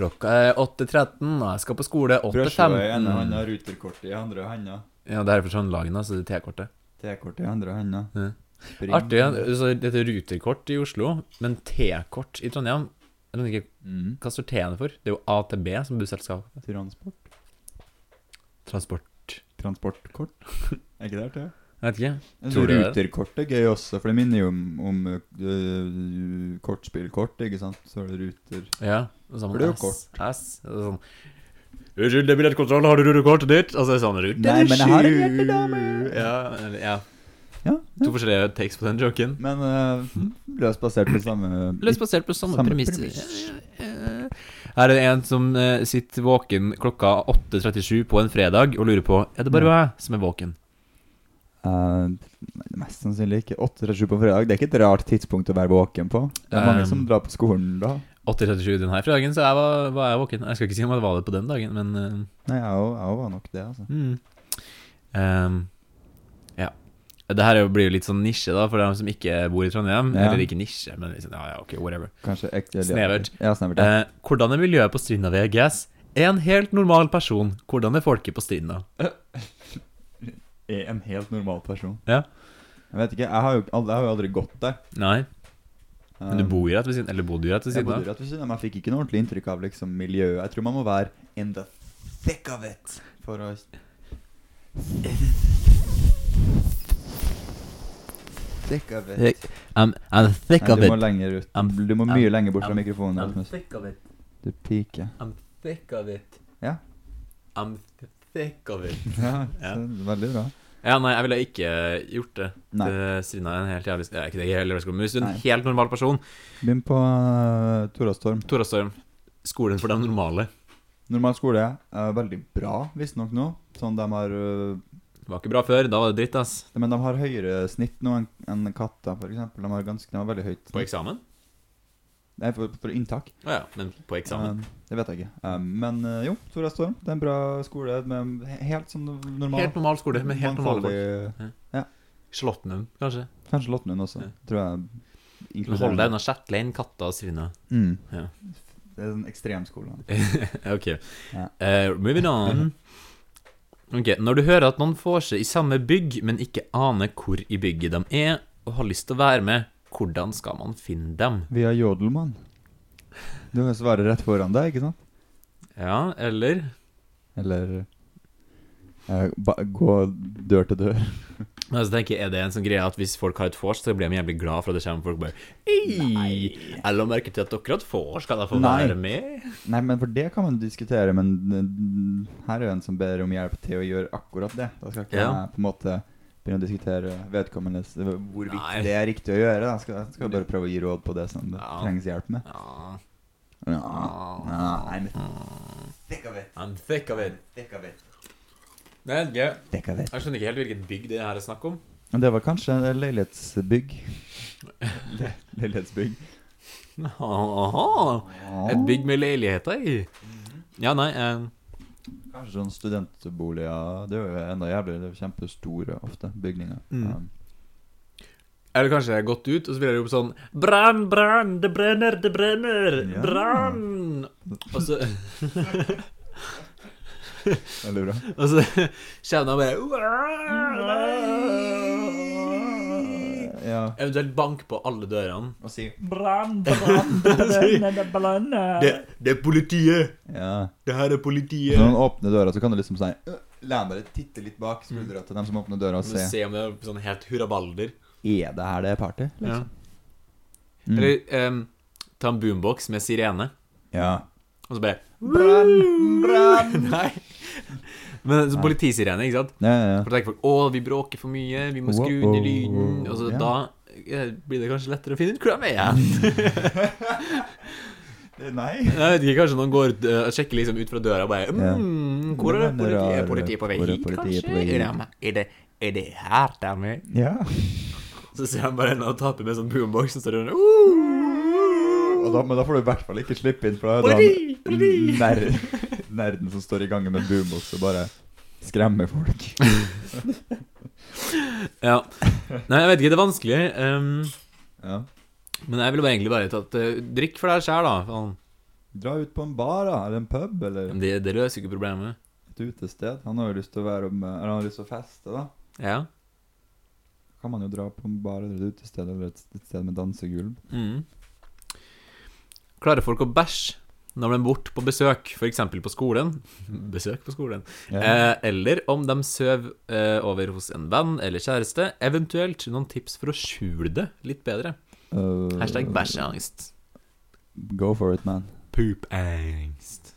Speaker 2: klokka er 8.13, og jeg skal på skole Mm.
Speaker 1: Brødskiva i ene
Speaker 2: 8.15.
Speaker 1: handa, ruterkortet i andre handa.
Speaker 2: Ja, det her er for sånn lagen, altså, det T-kortet.
Speaker 1: T-kort i andre handa.
Speaker 2: Ja.
Speaker 1: Spring.
Speaker 2: Artig. ja.
Speaker 1: Mm.
Speaker 2: Så det heter ruterkort i Oslo, men T-kort i Trondheim Jeg vet ikke
Speaker 1: Mm.
Speaker 2: hva står T-en for. Det er jo AtB som busselskap.
Speaker 1: Transport.
Speaker 2: Transport.
Speaker 1: Transportkort. Er ikke det artig?
Speaker 2: Jeg vet ikke.
Speaker 1: Men
Speaker 2: Tror du det?
Speaker 1: Ruterkort er gøy også, for det minner jo om, om øh, kortspillkort, ikke sant? Så er det ruter.
Speaker 2: Ja. Og så har
Speaker 1: For det er
Speaker 2: man
Speaker 1: jo
Speaker 2: S. S. og så Sånn Unnskyld, det er billettkontroll. Har du rutekortet ditt? Altså, det er sånn rute
Speaker 1: Nei, men jeg har en jævlig
Speaker 2: sju. Ja, eller- ja.
Speaker 1: Ja.
Speaker 2: To forskjellige takes på den joken.
Speaker 1: Men øh, løst basert på samme
Speaker 2: Løst basert på samme,
Speaker 1: Samme
Speaker 2: premisser.
Speaker 1: premiss.
Speaker 2: Eh, Her er det en som eh, sitter våken klokka 8.37 på en fredag og lurer på Er det bare meg som er våken.
Speaker 1: Eh, Mest sannsynlig ikke. 8-7 på fredag. Det er ikke et rart tidspunkt å være våken på. Det er mange
Speaker 2: Um,
Speaker 1: som drar på skolen da.
Speaker 2: 8.37 denne fredagen, så jeg var, var jeg våken. Jeg skal ikke si om jeg var det på den dagen, men eh,
Speaker 1: Nei, jeg òg- jeg òg var nok det, altså.
Speaker 2: Mm. Ehm, ja. Det her er jo- blir jo litt sånn nisje, da, for dem som ikke bor i Trondheim.
Speaker 1: Ja.
Speaker 2: Eller ikke nisje, men liksom, ja, ja, ok, whatever.
Speaker 1: Kanskje ekte
Speaker 2: Snevert.
Speaker 1: Ja, snevert. Ja.
Speaker 2: Eh, hvordan er miljøet på Strinda ved GS? Er en helt normal person. Hvordan er folket på Strinda?
Speaker 1: Er en helt normal person.
Speaker 2: Ja.
Speaker 1: Jeg vet ikke, jeg har jo aldri, jeg har jo aldri gått der.
Speaker 2: Nei, men du
Speaker 1: Um,
Speaker 2: bor jo rett ved siden Eller bodde jo rett ved
Speaker 1: Jeg
Speaker 2: siden
Speaker 1: bodde
Speaker 2: av.
Speaker 1: rett ved siden av, men jeg fikk ikke noe ordentlig inntrykk av liksom, miljøet. Jeg tror man må være in the thick of it for å Thick of it.
Speaker 2: Thick I'm, I'm thick
Speaker 1: Nei,
Speaker 2: of
Speaker 1: du må
Speaker 2: it.
Speaker 1: lenger ut.
Speaker 2: I'm-
Speaker 1: Du må mye
Speaker 2: I'm-
Speaker 1: lenger bort fra
Speaker 2: I'm-
Speaker 1: mikrofonen. Rasmus.
Speaker 2: thick of it.
Speaker 1: Du piker.
Speaker 2: I'm thick of it.
Speaker 1: Ja.
Speaker 2: I'm thick of it.
Speaker 1: Ja,
Speaker 2: Ja.
Speaker 1: så Veldig bra.
Speaker 2: Ja, nei, jeg ville ikke gjort det.
Speaker 1: Nei.
Speaker 2: Det- Strinda er en helt jævlig ja, Ikke det, jeg er helt jævlig, men hvis du er en
Speaker 1: Nei.
Speaker 2: helt normal person.
Speaker 1: Begynn på uh, Tora Storm.
Speaker 2: Tora Storm, skolen for de normale
Speaker 1: Normal skole er eh, veldig bra, visstnok nå. Sånn de har eh,
Speaker 2: var ikke bra før. Da var det dritt, ass.
Speaker 1: Men de har høyere snitt nå enn enn katter, for eksempel. De har ganske de har veldig høyt
Speaker 2: På eksamen?
Speaker 1: Nei, for, for inntak.
Speaker 2: Å ja, men på eksamen.
Speaker 1: Um, det vet jeg ikke. Um, men eh, jo, Tora Storm. Det er en bra skole med he- helt sånn normal
Speaker 2: helt normal skole med helt normale folk.
Speaker 1: mangfoldig-
Speaker 2: Slåttenum, kanskje.
Speaker 1: Kanskje Lottnund også,
Speaker 2: Ja.
Speaker 1: tror jeg.
Speaker 2: Men Hold deg unna Shetland, Katta og Strinda.
Speaker 1: Mm.
Speaker 2: Ja.
Speaker 1: Det er en ekstremskole.
Speaker 2: ok.
Speaker 1: Ja.
Speaker 2: Eh, moving on. Ok, Når du hører at noen får seg i samme bygg, men ikke aner hvor i bygget de er, og har lyst til å være med, hvordan skal man finne dem?
Speaker 1: Via Jodelmann. Du har svaret rett foran deg, ikke sant?
Speaker 2: Ja, eller
Speaker 1: Eller eh, ba, gå dør til dør.
Speaker 2: Men altså, tenker, jeg, Er det en sånn greie at hvis folk har et vors, så blir de jævlig glad for at det kommer folk bare Ei, jeg la merke til at dere hadde vors, kan jeg få
Speaker 1: Nei.
Speaker 2: være med?
Speaker 1: Nei, men for det kan man diskutere, men eh, her er jo en som ber om hjelp til å gjøre akkurat det. Da skal ikke
Speaker 2: Ja.
Speaker 1: jeg på en måte begynne å diskutere vedkommendes eh, hvorvidt
Speaker 2: Nei.
Speaker 1: det er riktig å gjøre. Da skal, skal jeg bare prøve å gi råd på det som det
Speaker 2: Ja.
Speaker 1: trengs hjelp med.
Speaker 2: Ja.
Speaker 1: Ja. Nei, men Thick of it.
Speaker 2: I'm thick of it.
Speaker 1: Thick of it.
Speaker 2: Nei, jeg,
Speaker 1: Thick of it.
Speaker 2: jeg skjønner ikke helt hvilket bygg det her er snakk om.
Speaker 1: Men det var kanskje en leilighetsbygg. Le leilighetsbygg.
Speaker 2: Aha, et bygg med leiligheter i.
Speaker 1: Mhm.
Speaker 2: Ja, nei eh,
Speaker 1: Kanskje sånn studentboliger. Det er jo enda jævligere. Det er jo kjempestore ofte bygninger.
Speaker 2: Mm.
Speaker 1: Um,
Speaker 2: Eller kanskje jeg har gått ut, og så vil jeg rope sånn Brann, brann, det brenner, det brenner!
Speaker 1: Ja.
Speaker 2: Brann! Og så,
Speaker 1: veldig bra.
Speaker 2: og så kommer de bare
Speaker 1: Ja.
Speaker 2: Eventuelt bank på alle dørene.
Speaker 1: Og si
Speaker 4: Brann, brann, brenner, det brenner.
Speaker 2: Det, det er politiet!
Speaker 1: Ja.
Speaker 2: Det her er
Speaker 1: Når
Speaker 2: politiet!
Speaker 1: man åpner døra, så kan du liksom si «Øh», Lene deg litt, titte litt bak skuldra til dem som åpner døra, og
Speaker 2: Se.
Speaker 1: Mm. se
Speaker 2: se om det er sånn helt hurrabalder.
Speaker 1: Er det her det er party?
Speaker 2: Ja.
Speaker 1: Liksom. Mm.
Speaker 2: Eller em, ta en boombox med sirene,
Speaker 1: Ja.
Speaker 2: og så bare
Speaker 1: Brann, brann.
Speaker 2: Nei. Men så politisirene, ikke sant?
Speaker 1: Ja, ja,
Speaker 2: For da tenker folk å, vi bråker for mye, vi må skru ned lyden. Og så da eh, blir det kanskje lettere å finne ut hvor de er.
Speaker 1: ja. Nei.
Speaker 2: Jeg vet ikke, Kanskje noen går ut eh, og sjekker liksom ut fra døra og bare
Speaker 1: Ja.
Speaker 2: mm, Hvor er det
Speaker 1: Hvor
Speaker 2: politiet?
Speaker 1: er
Speaker 2: Er politiet på vei
Speaker 1: hvor er
Speaker 2: hit,
Speaker 1: politiet
Speaker 2: kanskje?
Speaker 1: på vei hit?
Speaker 2: Er de- Er det, er det her de er?
Speaker 1: Ja.
Speaker 2: Så ser han bare en og taper med sånn boombox, og så står det sånn
Speaker 1: Og da, men da får du i hvert fall ikke slippe inn, for da er
Speaker 2: Politi!
Speaker 1: han ner, nerden som står i gangen med boombox og bare skremmer folk.
Speaker 2: Ja. Nei, jeg vet ikke, det er vanskelig. ehm,
Speaker 1: Ja.
Speaker 2: men jeg ville bare egentlig bare tatt eh, Drikk for deg sjæl, da. faen.
Speaker 1: Dra ut på en bar, da, eller en pub, eller
Speaker 2: Men Det, det løser jo ikke problemet.
Speaker 1: et utested. Han har jo lyst til å være med, eller han har lyst til å feste, da.
Speaker 2: Ja.
Speaker 1: kan man jo dra på en bar eller et utested eller et, et sted med dansegulv.
Speaker 2: Mm. Klarer folk å bæsje når de er borte på besøk, f.eks. på skolen? Besøk på skolen.
Speaker 1: Ja.
Speaker 2: Eh, eller om de sover eh, over hos en venn eller kjæreste. Eventuelt noen tips for å skjule det litt bedre.
Speaker 1: Øh,
Speaker 2: Hashtag bæsjeangst.
Speaker 1: Go for it, man.
Speaker 2: Poopangst.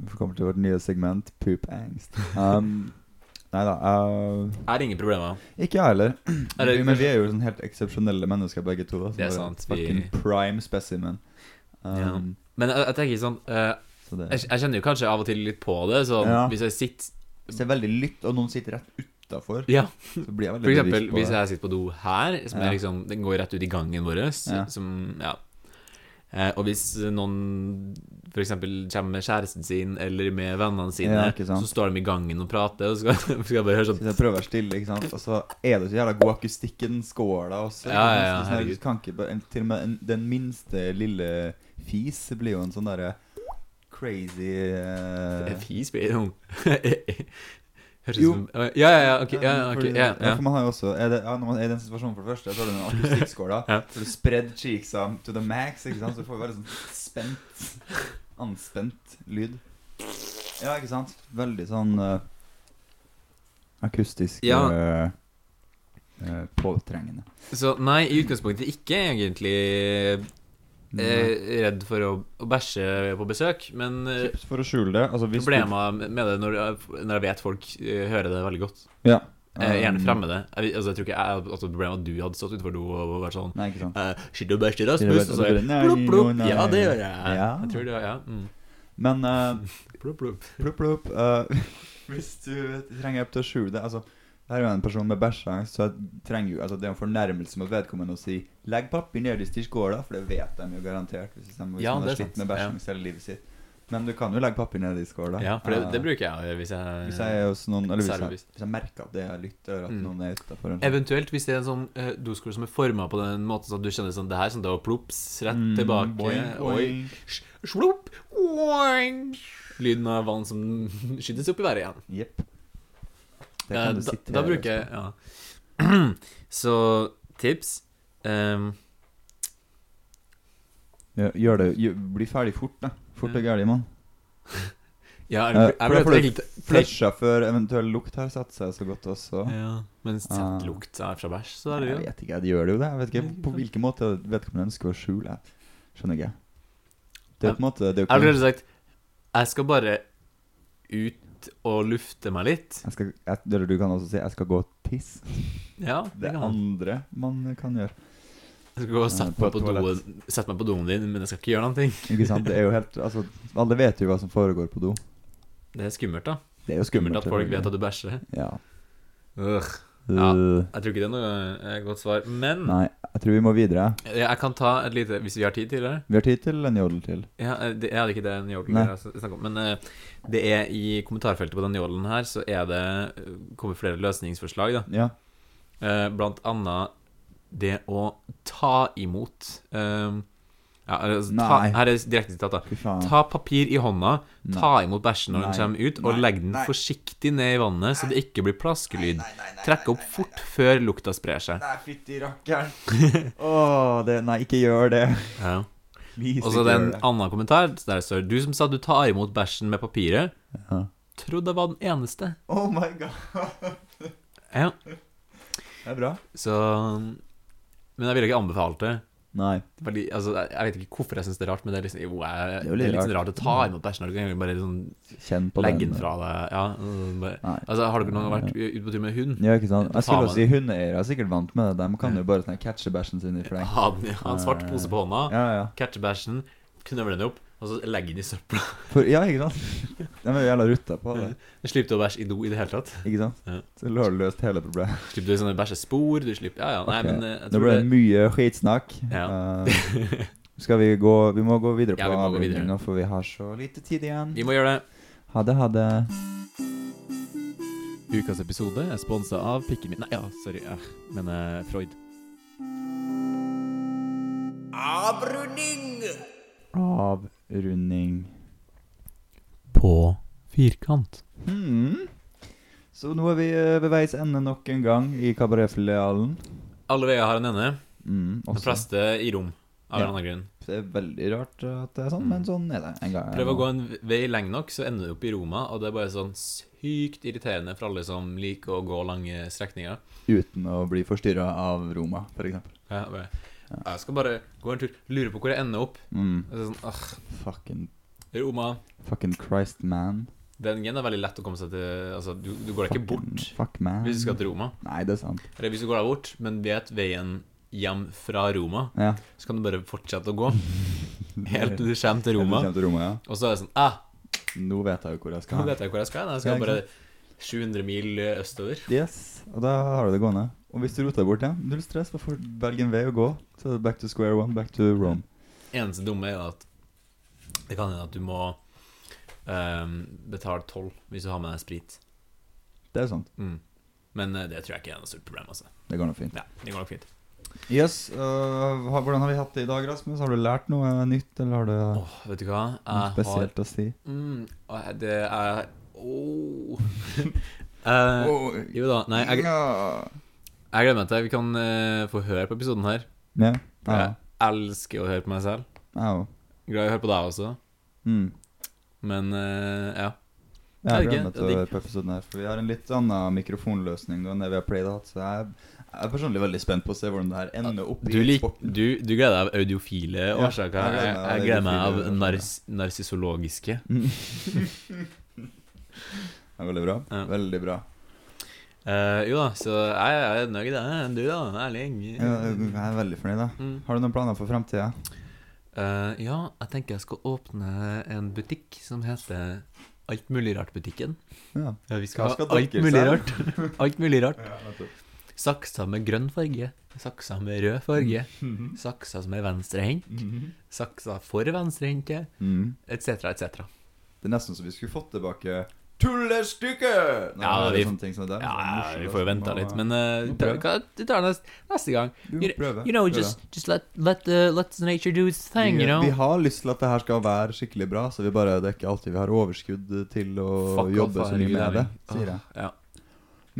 Speaker 1: Vi kommer til vårt nye segment, poop angst. Um, nei da. øh,
Speaker 2: Er ingen problemer.
Speaker 1: ikke jeg heller.
Speaker 2: Er det-
Speaker 1: Men vi er jo sånn helt eksepsjonelle mennesker, begge to. Da, som
Speaker 2: Det er
Speaker 1: bare
Speaker 2: sant, vi-
Speaker 1: Fucking prime specimen. Um,
Speaker 2: Men jeg, jeg tenker sånn eh,
Speaker 1: Så det
Speaker 2: jeg, jeg kjenner jo kanskje av og til litt på det, så
Speaker 1: Ja.
Speaker 2: hvis jeg sitter
Speaker 1: Hvis det er veldig lytt, og noen sitter rett utafor,
Speaker 2: Ja,
Speaker 1: så blir jeg veldig
Speaker 2: for eksempel
Speaker 1: bevisst på
Speaker 2: hvis
Speaker 1: det.
Speaker 2: jeg sitter på do her, som
Speaker 1: Ja.
Speaker 2: er liksom Den går rett ut i gangen vår,
Speaker 1: Ja.
Speaker 2: som Ja. Eh, og hvis noen for eksempel kommer med kjæresten sin eller med vennene sine,
Speaker 1: Ja, ikke sant.
Speaker 2: så står de i gangen og prater, og så skal, skal jeg bare høre sånn
Speaker 1: Hvis jeg prøver å være stille, ikke sant? og så er det så jævla god akustikk i den skåla også. ikke
Speaker 2: Ja,
Speaker 1: sant?
Speaker 2: ja, ja,
Speaker 1: Så sånn der,
Speaker 2: herregud.
Speaker 1: kan ikke, bare- en, til og med en, den minste lille fis blir jo en sånn derre crazy eh,
Speaker 2: Fis blir noen Høres ut
Speaker 1: Jo.
Speaker 2: som Ja, ja, ja, ok. Ja, ja, ok,
Speaker 1: Eh, fordi-
Speaker 2: ja, ja.
Speaker 1: for man har jo også er det, ja, Når man er i den situasjonen, for det første, så har du den akustikkskåla.
Speaker 2: Ja.
Speaker 1: Så du spread cheeksa to the max, ikke sant? så du får veldig sånn spent Anspent lyd. Ja, ikke sant? Veldig sånn eh, akustisk
Speaker 2: Ja.
Speaker 1: eh, eh, påtrengende.
Speaker 2: Så nei, i utgangspunktet ikke egentlig
Speaker 1: Mm.
Speaker 2: eh, redd for å, å bæsje på besøk, men eh,
Speaker 1: Tips for å skjule det. Altså, hvis
Speaker 2: problemer med det når, når jeg vet folk eh, hører det veldig godt.
Speaker 1: Du, ja.
Speaker 2: Eh, gjerne
Speaker 1: Um,
Speaker 2: fremme det. Jeg, vet- altså, jeg tror ikke jeg hadde hatt et problem at du hadde stått utenfor do og vært sånn
Speaker 1: Nei, ikke sant.
Speaker 2: eh, Skyld og bæsj i
Speaker 1: Skyld og
Speaker 2: Rasmus,
Speaker 1: bæsj,
Speaker 2: og så er det
Speaker 1: nei,
Speaker 2: plopp,
Speaker 1: jo,
Speaker 2: plopp.
Speaker 1: nei.
Speaker 2: Ja, det gjør jeg.
Speaker 1: Ja.
Speaker 2: Eh, Jeg tror det, ja. Mm.
Speaker 1: Men eh,
Speaker 2: Plopp, plopp.
Speaker 1: Plopp, plopp. eh, hvis du trenger hjelp til å skjule det altså, Det her er jo en person med bæsjeangst, så jeg trenger jo, altså, det er en fornærmelse mot vedkommende å si 'legg papir nederst i skåla', for det vet de jo garantert hvis, de, hvis
Speaker 2: Ja,
Speaker 1: man
Speaker 2: det
Speaker 1: har
Speaker 2: er
Speaker 1: slitt
Speaker 2: sant,
Speaker 1: med bæsjeangst hele livet sitt. Men du kan jo legge papir nedi skåla.
Speaker 2: Ja, for det,
Speaker 1: Eh,
Speaker 2: det bruker jeg å gjøre hvis jeg
Speaker 1: hvis jeg er hos noen Eller hvis jeg,
Speaker 2: Service.
Speaker 1: hvis jeg merker at det er lytt, eller at
Speaker 2: Mm.
Speaker 1: noen er utafor.
Speaker 2: Eventuelt hvis det er en sånn eh, doskole som er forma på den måten sånn at du kjenner sånn Det her sånn, det var plops rett
Speaker 1: Mm,
Speaker 2: tilbake. Oi. Sj- Slopp. Oing. Lyden av vann som skytes opp i været igjen.
Speaker 1: Jepp. Det
Speaker 2: Eh,
Speaker 1: kan du
Speaker 2: da,
Speaker 1: sitte altså.
Speaker 2: da bruker jeg ja. Så tips Ehm,
Speaker 1: Gjør, gjør det, gjør, Bli ferdig fort, da. Fort og
Speaker 2: Ja.
Speaker 1: gærlig, mann.
Speaker 2: Ja, jeg,
Speaker 1: Eh,
Speaker 2: jeg,
Speaker 1: for da får
Speaker 2: ble
Speaker 1: du
Speaker 2: egentlig-
Speaker 1: Flusha før eventuell lukt har satt seg så godt også.
Speaker 2: ja, Men
Speaker 1: Ah.
Speaker 2: sett lukta fra bæsj, så er det
Speaker 1: Jeg
Speaker 2: jo
Speaker 1: vet ikke, de gjør det jo det. Jeg vet ikke på hvilken måte vedkommende ønsker å skjule det. Skjønner ikke. Det er jo på en måte det er
Speaker 2: Jeg
Speaker 1: jo
Speaker 2: ville
Speaker 1: ikke,
Speaker 2: sagt Jeg skal bare ut og lufte meg litt.
Speaker 1: jeg skal, jeg, Eller du kan også si 'jeg skal gå og tisse'.
Speaker 2: Ja,
Speaker 1: Det
Speaker 2: det kan man.
Speaker 1: andre man kan gjøre.
Speaker 2: Jeg skal gå og sette
Speaker 1: på
Speaker 2: meg på,
Speaker 1: toalett.
Speaker 2: doen, sette meg på doen din, men jeg skal ikke gjøre noen ting.
Speaker 1: Ikke sant? Det er jo helt Altså, alle vet jo hva som foregår på do.
Speaker 2: Det er skummelt, da.
Speaker 1: Det er jo
Speaker 2: Skummelt at folk
Speaker 1: selvfølgelig.
Speaker 2: vet at du bæsjer.
Speaker 1: Ja.
Speaker 2: Ugh. Ja.
Speaker 1: Øh,
Speaker 2: Jeg tror ikke det er noe eh, godt svar. Men
Speaker 1: Nei, jeg tror vi må videre.
Speaker 2: jeg jeg kan ta et lite Hvis vi har tid til det?
Speaker 1: Vi har tid til en jodel til.
Speaker 2: Ja, eh, det- jeg hadde ikke det en jodel
Speaker 1: Nei.
Speaker 2: jeg snakket om. Men eh, det er i kommentarfeltet på den jodelen her, så er det eh, kommer flere løsningsforslag, da.
Speaker 1: Ja.
Speaker 2: Eh, Blant annet det å ta imot eh, ja, altså, ta,
Speaker 1: Nei.
Speaker 2: Her er direkte sitat, da.
Speaker 1: Fy faen.
Speaker 2: Ta papir i hånda, ta imot bæsjen når den
Speaker 1: Nei.
Speaker 2: kommer ut, og
Speaker 1: Nei.
Speaker 2: legg den
Speaker 1: Nei.
Speaker 2: forsiktig ned i vannet, så det ikke blir plaskelyd. Trekk opp fort før lukta sprer seg.
Speaker 1: Nei, fytti rakkeren. Åh, det Nei, ikke gjør det.
Speaker 2: Ja.
Speaker 1: Please,
Speaker 2: Og så
Speaker 1: ikke
Speaker 2: det er en
Speaker 1: gjør det.
Speaker 2: annen kommentar der det står Du som sa du tar imot bæsjen med papiret
Speaker 1: Ja.
Speaker 2: Trodde jeg var den eneste
Speaker 1: Oh my god.
Speaker 2: Ja,
Speaker 1: Det er bra.
Speaker 2: så Men jeg ville ikke anbefalt det
Speaker 1: Nei.
Speaker 2: fordi, altså, jeg- jeg vet ikke hvorfor jeg synes det er rart Men det er liksom, jo, jeg,
Speaker 1: Det
Speaker 2: det
Speaker 1: er
Speaker 2: er
Speaker 1: jo litt
Speaker 2: litt sånn
Speaker 1: rart.
Speaker 2: rart å ta imot bæsjen når Du kan egentlig bare sånn,
Speaker 1: Kjenn på
Speaker 2: legge den fra deg ja, øh, bare,
Speaker 1: Nei.
Speaker 2: Altså, har dere noen gang vært ute på tur med hund?
Speaker 1: Ja, ikke sant?
Speaker 2: Da
Speaker 1: Jeg skulle
Speaker 2: tar man-
Speaker 1: si hundeeiere er sikkert vant med det. De kan jo bare sånn catche bæsjen sin i fleng.
Speaker 2: Ha den- ha en svart pose på hånda
Speaker 1: Ja, ja.
Speaker 2: Catche bæsjen, knøvle den opp Og så legge den i søpla
Speaker 1: For, ja, ikke sant? De er jo jævla rutta på det.
Speaker 2: Slipp til å bæsje i do i det hele tatt
Speaker 1: Ikke sant?
Speaker 2: Ja.
Speaker 1: Så har du løst hele problemet.
Speaker 2: Slipp til å sånne bæsjespor Du slipper, ja, ja Nei,
Speaker 1: Ok,
Speaker 2: men eh, jeg
Speaker 1: Nå
Speaker 2: tror
Speaker 1: ble
Speaker 2: det
Speaker 1: det mye skitsnakk.
Speaker 2: Ja.
Speaker 1: Eh, skal vi gå Vi må gå videre på
Speaker 2: Ja, vi må gå
Speaker 1: avrunding
Speaker 2: videre.
Speaker 1: nå, for vi har så lite tid igjen.
Speaker 2: Vi må gjøre det
Speaker 1: Ha det, ha det.
Speaker 2: Ukas episode er sponsa av pikken min Nei, ja, sorry. Jeg mener Freud.
Speaker 1: Avrunding.
Speaker 2: På firkant.
Speaker 1: Hmm. Så nå er vi eh, ved veis ende nok en gang i kabaretfilialen.
Speaker 2: Alle veier har en ende.
Speaker 1: Mm,
Speaker 2: De
Speaker 1: også.
Speaker 2: fleste i rom. Av en
Speaker 1: Ja.
Speaker 2: eller annen grunn.
Speaker 1: Det er veldig rart at det er sånn,
Speaker 2: Mm.
Speaker 1: men sånn er det. En gang.
Speaker 2: Prøv å gå en vei lenge nok, så ender du opp i Roma, og det er bare sånn sykt irriterende for alle som liker å gå lange strekninger.
Speaker 1: eh, Uten å bli forstyrra av Roma, f.eks.
Speaker 2: Ja, bare, jeg skal bare gå en tur, lure på hvor jeg ender opp.
Speaker 1: Mm.
Speaker 2: Og så er det sånn, «Åh,
Speaker 1: Fucking,
Speaker 2: Roma,
Speaker 1: fucking Christ man.
Speaker 2: den gen er veldig lett å komme seg til Altså, du, du går deg ikke bort
Speaker 1: Fucking Fuck man.
Speaker 2: hvis du skal til Roma.
Speaker 1: Nei, det er sant.
Speaker 2: Eller hvis du går deg bort, men vet veien hjem fra Roma,
Speaker 1: Ja.
Speaker 2: så kan du bare fortsette å gå helt til du kommer til Roma.
Speaker 1: Helt til Roma, ja.
Speaker 2: Og så er det sånn ah,
Speaker 1: Nå vet jeg jo hvor jeg
Speaker 2: Nå
Speaker 1: skal.
Speaker 2: vet jeg hvor jeg skal. hen. Jeg
Speaker 1: Ja,
Speaker 2: skal
Speaker 1: ikke
Speaker 2: bare 700 mil eh, østover.
Speaker 1: Yes, og da har du det gående. Og hvis du roter deg bort, ja, null stress. Bare får velge en vei å gå. Så er det back to square one, back to Rome.
Speaker 2: Eneste dumme er jo at det kan hende at du må ehm, betale toll hvis du har med deg sprit.
Speaker 1: Det er sant.
Speaker 2: Mm. Men eh, det tror jeg ikke er noe stort problem. altså.
Speaker 1: Det går nå fint.
Speaker 2: Ja, Det går nok fint.
Speaker 1: Yes, øh, ha- Hvordan har vi hatt det i dag, Rasmus? Har du lært noe nytt, eller har du
Speaker 2: Åh, vet du hva?
Speaker 1: noe
Speaker 2: Jeg har
Speaker 1: spesielt å si?
Speaker 2: mm, åh, Det er Åh Eh,
Speaker 1: Åh,
Speaker 2: Jo da. Nei, jeg,
Speaker 1: ja.
Speaker 2: jeg gleder meg til Vi kan eh, få høre på episoden her.
Speaker 1: Ja. Ja.
Speaker 2: Jeg elsker å høre på meg selv.
Speaker 1: Au.
Speaker 2: Glad i å høre på deg også.
Speaker 1: Mm.
Speaker 2: Men eh, ja.
Speaker 1: Ja, Jeg
Speaker 2: Helge,
Speaker 1: gleder meg til å
Speaker 2: det er
Speaker 1: høre på episoden her, for vi har en litt annen mikrofonløsning nå enn det vi har pleid å ha. Så jeg jeg er personlig veldig spent på å se hvordan det her ender opp
Speaker 2: Du,
Speaker 1: i
Speaker 2: lik,
Speaker 1: sporten.
Speaker 2: du, du gleder deg av audiofile
Speaker 1: Ja, jeg
Speaker 2: årsaker.
Speaker 1: gleder
Speaker 2: Jeg,
Speaker 1: meg av
Speaker 2: jeg gleder meg av
Speaker 1: audiofile
Speaker 2: nars- narsissologiske.
Speaker 1: Det er veldig bra.
Speaker 2: Ja.
Speaker 1: Veldig bra.
Speaker 2: Eh, jo da, så jeg, jeg er nøyd. jeg. Du da, Erling?
Speaker 1: Ja, Jeg er veldig fornøyd, da.
Speaker 2: Mm.
Speaker 1: Har du noen planer for fremtida?
Speaker 2: Eh, ja, jeg tenker jeg skal åpne en butikk som heter Alt mulig rart-butikken.
Speaker 1: Ja.
Speaker 2: Ja, vi skal,
Speaker 1: Hva skal
Speaker 2: ha alt
Speaker 1: dere
Speaker 2: mulig
Speaker 1: selge?
Speaker 2: rart. alt mulig rart.
Speaker 1: nettopp.
Speaker 2: Sakser med grønn farge. Sakser med rød farge.
Speaker 1: Mm. Mhm.
Speaker 2: Sakser som er venstrehendt. Sakser for venstrehendte.
Speaker 1: Mm.
Speaker 2: Etc., etc.
Speaker 1: Det er nesten så vi skulle fått tilbake Tullestykket! Nei,
Speaker 2: Ja,
Speaker 1: det er
Speaker 2: vi-
Speaker 1: sånne ting som det er.
Speaker 2: Ja,
Speaker 1: Morsomt, altså.
Speaker 2: vi får jo vente
Speaker 1: og-
Speaker 2: litt, men eh,
Speaker 1: Nå
Speaker 2: ta-
Speaker 1: prøver.
Speaker 2: hva- vi tar neste, neste gang.
Speaker 1: Jo,
Speaker 2: You-
Speaker 1: prøve.
Speaker 2: You know,
Speaker 1: prøve.
Speaker 2: just just let let the let the nature do its thing.
Speaker 1: vi,
Speaker 2: You know.
Speaker 1: vi har lyst til at det her skal være skikkelig bra, så vi bare, det er ikke alltid vi har overskudd til å
Speaker 2: Fuck
Speaker 1: jobbe
Speaker 2: off,
Speaker 1: så mye
Speaker 2: herregud,
Speaker 1: med det,
Speaker 2: Erling.
Speaker 1: sier jeg.
Speaker 2: Åh, Ja.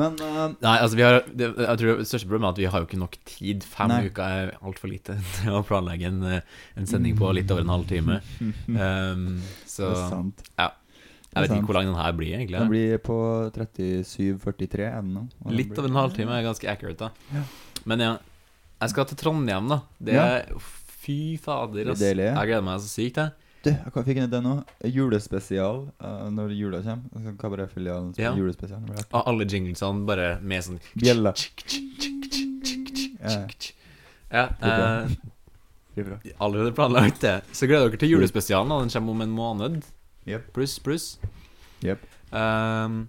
Speaker 1: Men eh,
Speaker 2: Nei, altså vi har det, Jeg tror det største problemet er at vi har jo ikke nok tid. Fem
Speaker 1: Nei.
Speaker 2: uker er altfor lite til å planlegge en, eh, en sending på litt over en halvtime. Um,
Speaker 1: det
Speaker 2: så
Speaker 1: er sant.
Speaker 2: jeg vet
Speaker 1: sant.
Speaker 2: ikke hvor lang den her blir, egentlig.
Speaker 1: Den blir på 37,43 er den nå. og den
Speaker 2: Litt
Speaker 1: blir-
Speaker 2: over en halvtime er ganske accurate, da.
Speaker 1: Ja.
Speaker 2: Men ja, jeg skal til Trondheim, da. Det er Fy fader, ass.
Speaker 1: Det er deilig.
Speaker 2: Jeg gleder meg så sykt, jeg.
Speaker 1: Du, jeg fikk en idé nå. Julespesial eh, når jula kommer. sånn Kabaretfilialen
Speaker 2: Ja.
Speaker 1: spiller julespesial. Det blir artig.
Speaker 2: Av alle jinglesene bare med sånn
Speaker 1: Bjella. Ja.
Speaker 2: Ja, eh,
Speaker 1: Det blir bra.
Speaker 2: allerede planlagt det. Så gleder dere til julespesialen, da. Den kommer om en måned.
Speaker 1: Jep.
Speaker 2: Pluss, pluss.
Speaker 1: Jep.
Speaker 2: Ehm,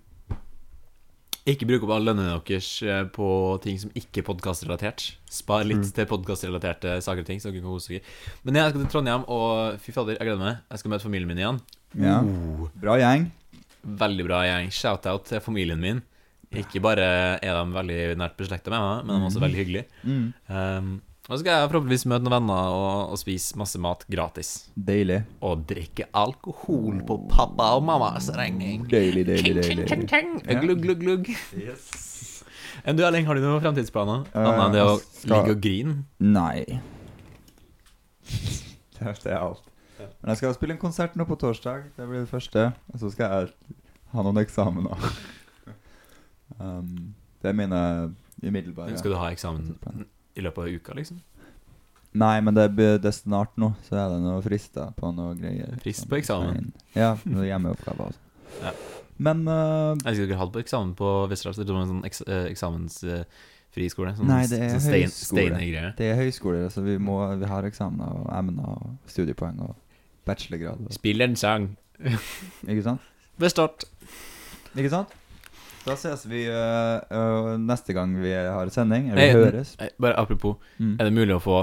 Speaker 2: ikke bruk opp alle lønnene deres eh, på ting som ikke er podkastrelatert. Spar litt
Speaker 1: True.
Speaker 2: til podkastrelaterte saker og ting. Så dere kan kose dere. Men jeg skal til Trondheim, og fy fader, jeg gleder meg. Jeg skal møte familien min igjen.
Speaker 1: Ja.
Speaker 2: Uh,
Speaker 1: Bra gjeng.
Speaker 2: Veldig bra gjeng. Shout-out til familien min. Ikke bare er de veldig nært beslekta med meg, men de er også veldig hyggelige.
Speaker 1: Mm.
Speaker 2: Ehm, og så skal jeg forhåpentligvis møte noen venner og, og spise masse mat gratis.
Speaker 1: Deilig.
Speaker 2: Og drikke alkohol på pappa og mammas regning.
Speaker 1: Deilig,
Speaker 5: Ting,
Speaker 1: deilig,
Speaker 5: ting,
Speaker 1: deilig.
Speaker 5: ting.
Speaker 1: Ja.
Speaker 2: Glugg, glugg, glugg. Enn du, Erling, har du noen fremtidsplaner?
Speaker 1: Eh,
Speaker 2: Annet enn det å
Speaker 1: skal-
Speaker 2: ligge og grine?
Speaker 1: Nei. Det er- det er alt. Men jeg skal spille en konsert nå på torsdag. Det blir det første. Og så skal jeg ha noen eksamener. Um, det er mine umiddelbare
Speaker 2: Skal du ha eksamen i løpet av uka, liksom?
Speaker 1: Nei, men det er, be- det er snart nå, så er det noen frister på noe greier.
Speaker 2: Frist
Speaker 1: som
Speaker 2: på eksamen.
Speaker 1: skal inn. Ja, noen hjemmeoppgaver og sånn.
Speaker 2: Ja.
Speaker 1: Men eh,
Speaker 2: Jeg husker dere hadde på eksamen på Vesterålen, så det var en sånn eks eh, eksamensfri skole. Sånn,
Speaker 1: Nei, det er
Speaker 2: sånn stein,
Speaker 1: høyskole.
Speaker 2: Steinegreier.
Speaker 1: det er høyskoler, så vi, må, vi har eksamener og emner og studiepoeng og bachelorgrad. og-
Speaker 2: Spill en sang.
Speaker 1: Ikke sant?
Speaker 2: Bestått.
Speaker 1: Ikke sant? Da ses vi øh, øh, neste gang vi har sending. Eller
Speaker 2: Nei,
Speaker 1: høres.
Speaker 2: Nei, Eh, Bare apropos,
Speaker 1: Mm.
Speaker 2: er det mulig å få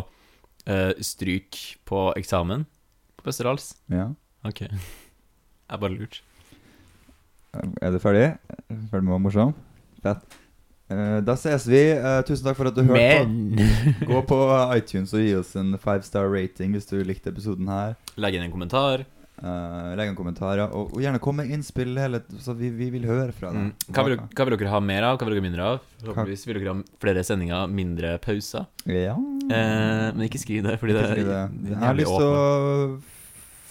Speaker 2: eh, stryk på eksamen på Vesterålen?
Speaker 1: Ja.
Speaker 2: Ok. Jeg bare lurt.
Speaker 1: Er du ferdig? Føler du meg morsom? Fett. Eh, da ses vi. Eh, tusen takk for at du hørte på. Gå på iTunes og gi oss en five star rating hvis du likte episoden her.
Speaker 2: Legg inn en kommentar.
Speaker 1: Eh, legg en kommentar, ja, og, og gjerne kom med innspill. Hele, t- så vi, vi vil høre fra deg.
Speaker 2: Mm. Hva, vil, hva vil dere ha mer av? Hva vil dere ha mindre av? Forhåpentligvis vil dere ha flere sendinger, mindre pauser.
Speaker 1: Ja
Speaker 2: Eh, men ikke skriv det, fordi det,
Speaker 1: Ikke skriv det.
Speaker 2: det
Speaker 1: Jeg
Speaker 2: er
Speaker 1: har
Speaker 2: jævlig
Speaker 1: lyst til
Speaker 2: åpent.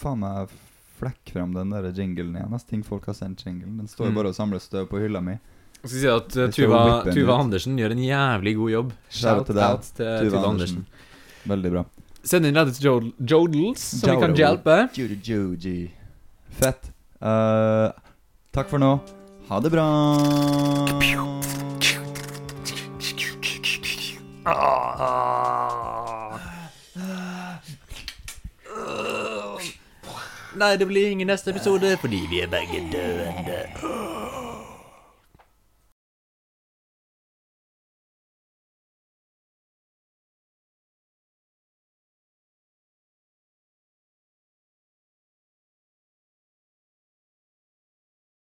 Speaker 1: å faen meg flekke frem den der jinglen igjen. ass. Ting folk har sendt jinglen. Den står
Speaker 2: Mm.
Speaker 1: jo bare og samler støv på hylla mi.
Speaker 2: Jeg skal si at eh,
Speaker 1: Hvis det
Speaker 2: Tuva,
Speaker 1: var blitt den
Speaker 2: Tuva
Speaker 1: ut.
Speaker 2: Andersen gjør en jævlig god jobb.
Speaker 1: Shout out til deg,
Speaker 2: out til Tuva, Andersen.
Speaker 1: Veldig bra.
Speaker 2: Send inn ledet til Jodel- Jodels, som vi kan
Speaker 1: Jodel.
Speaker 2: hjelpe.
Speaker 1: Judy Judy. Fett. Eh, takk for nå. Ha det bra.
Speaker 2: Nei, det blir ingen neste episode fordi vi er begge døende.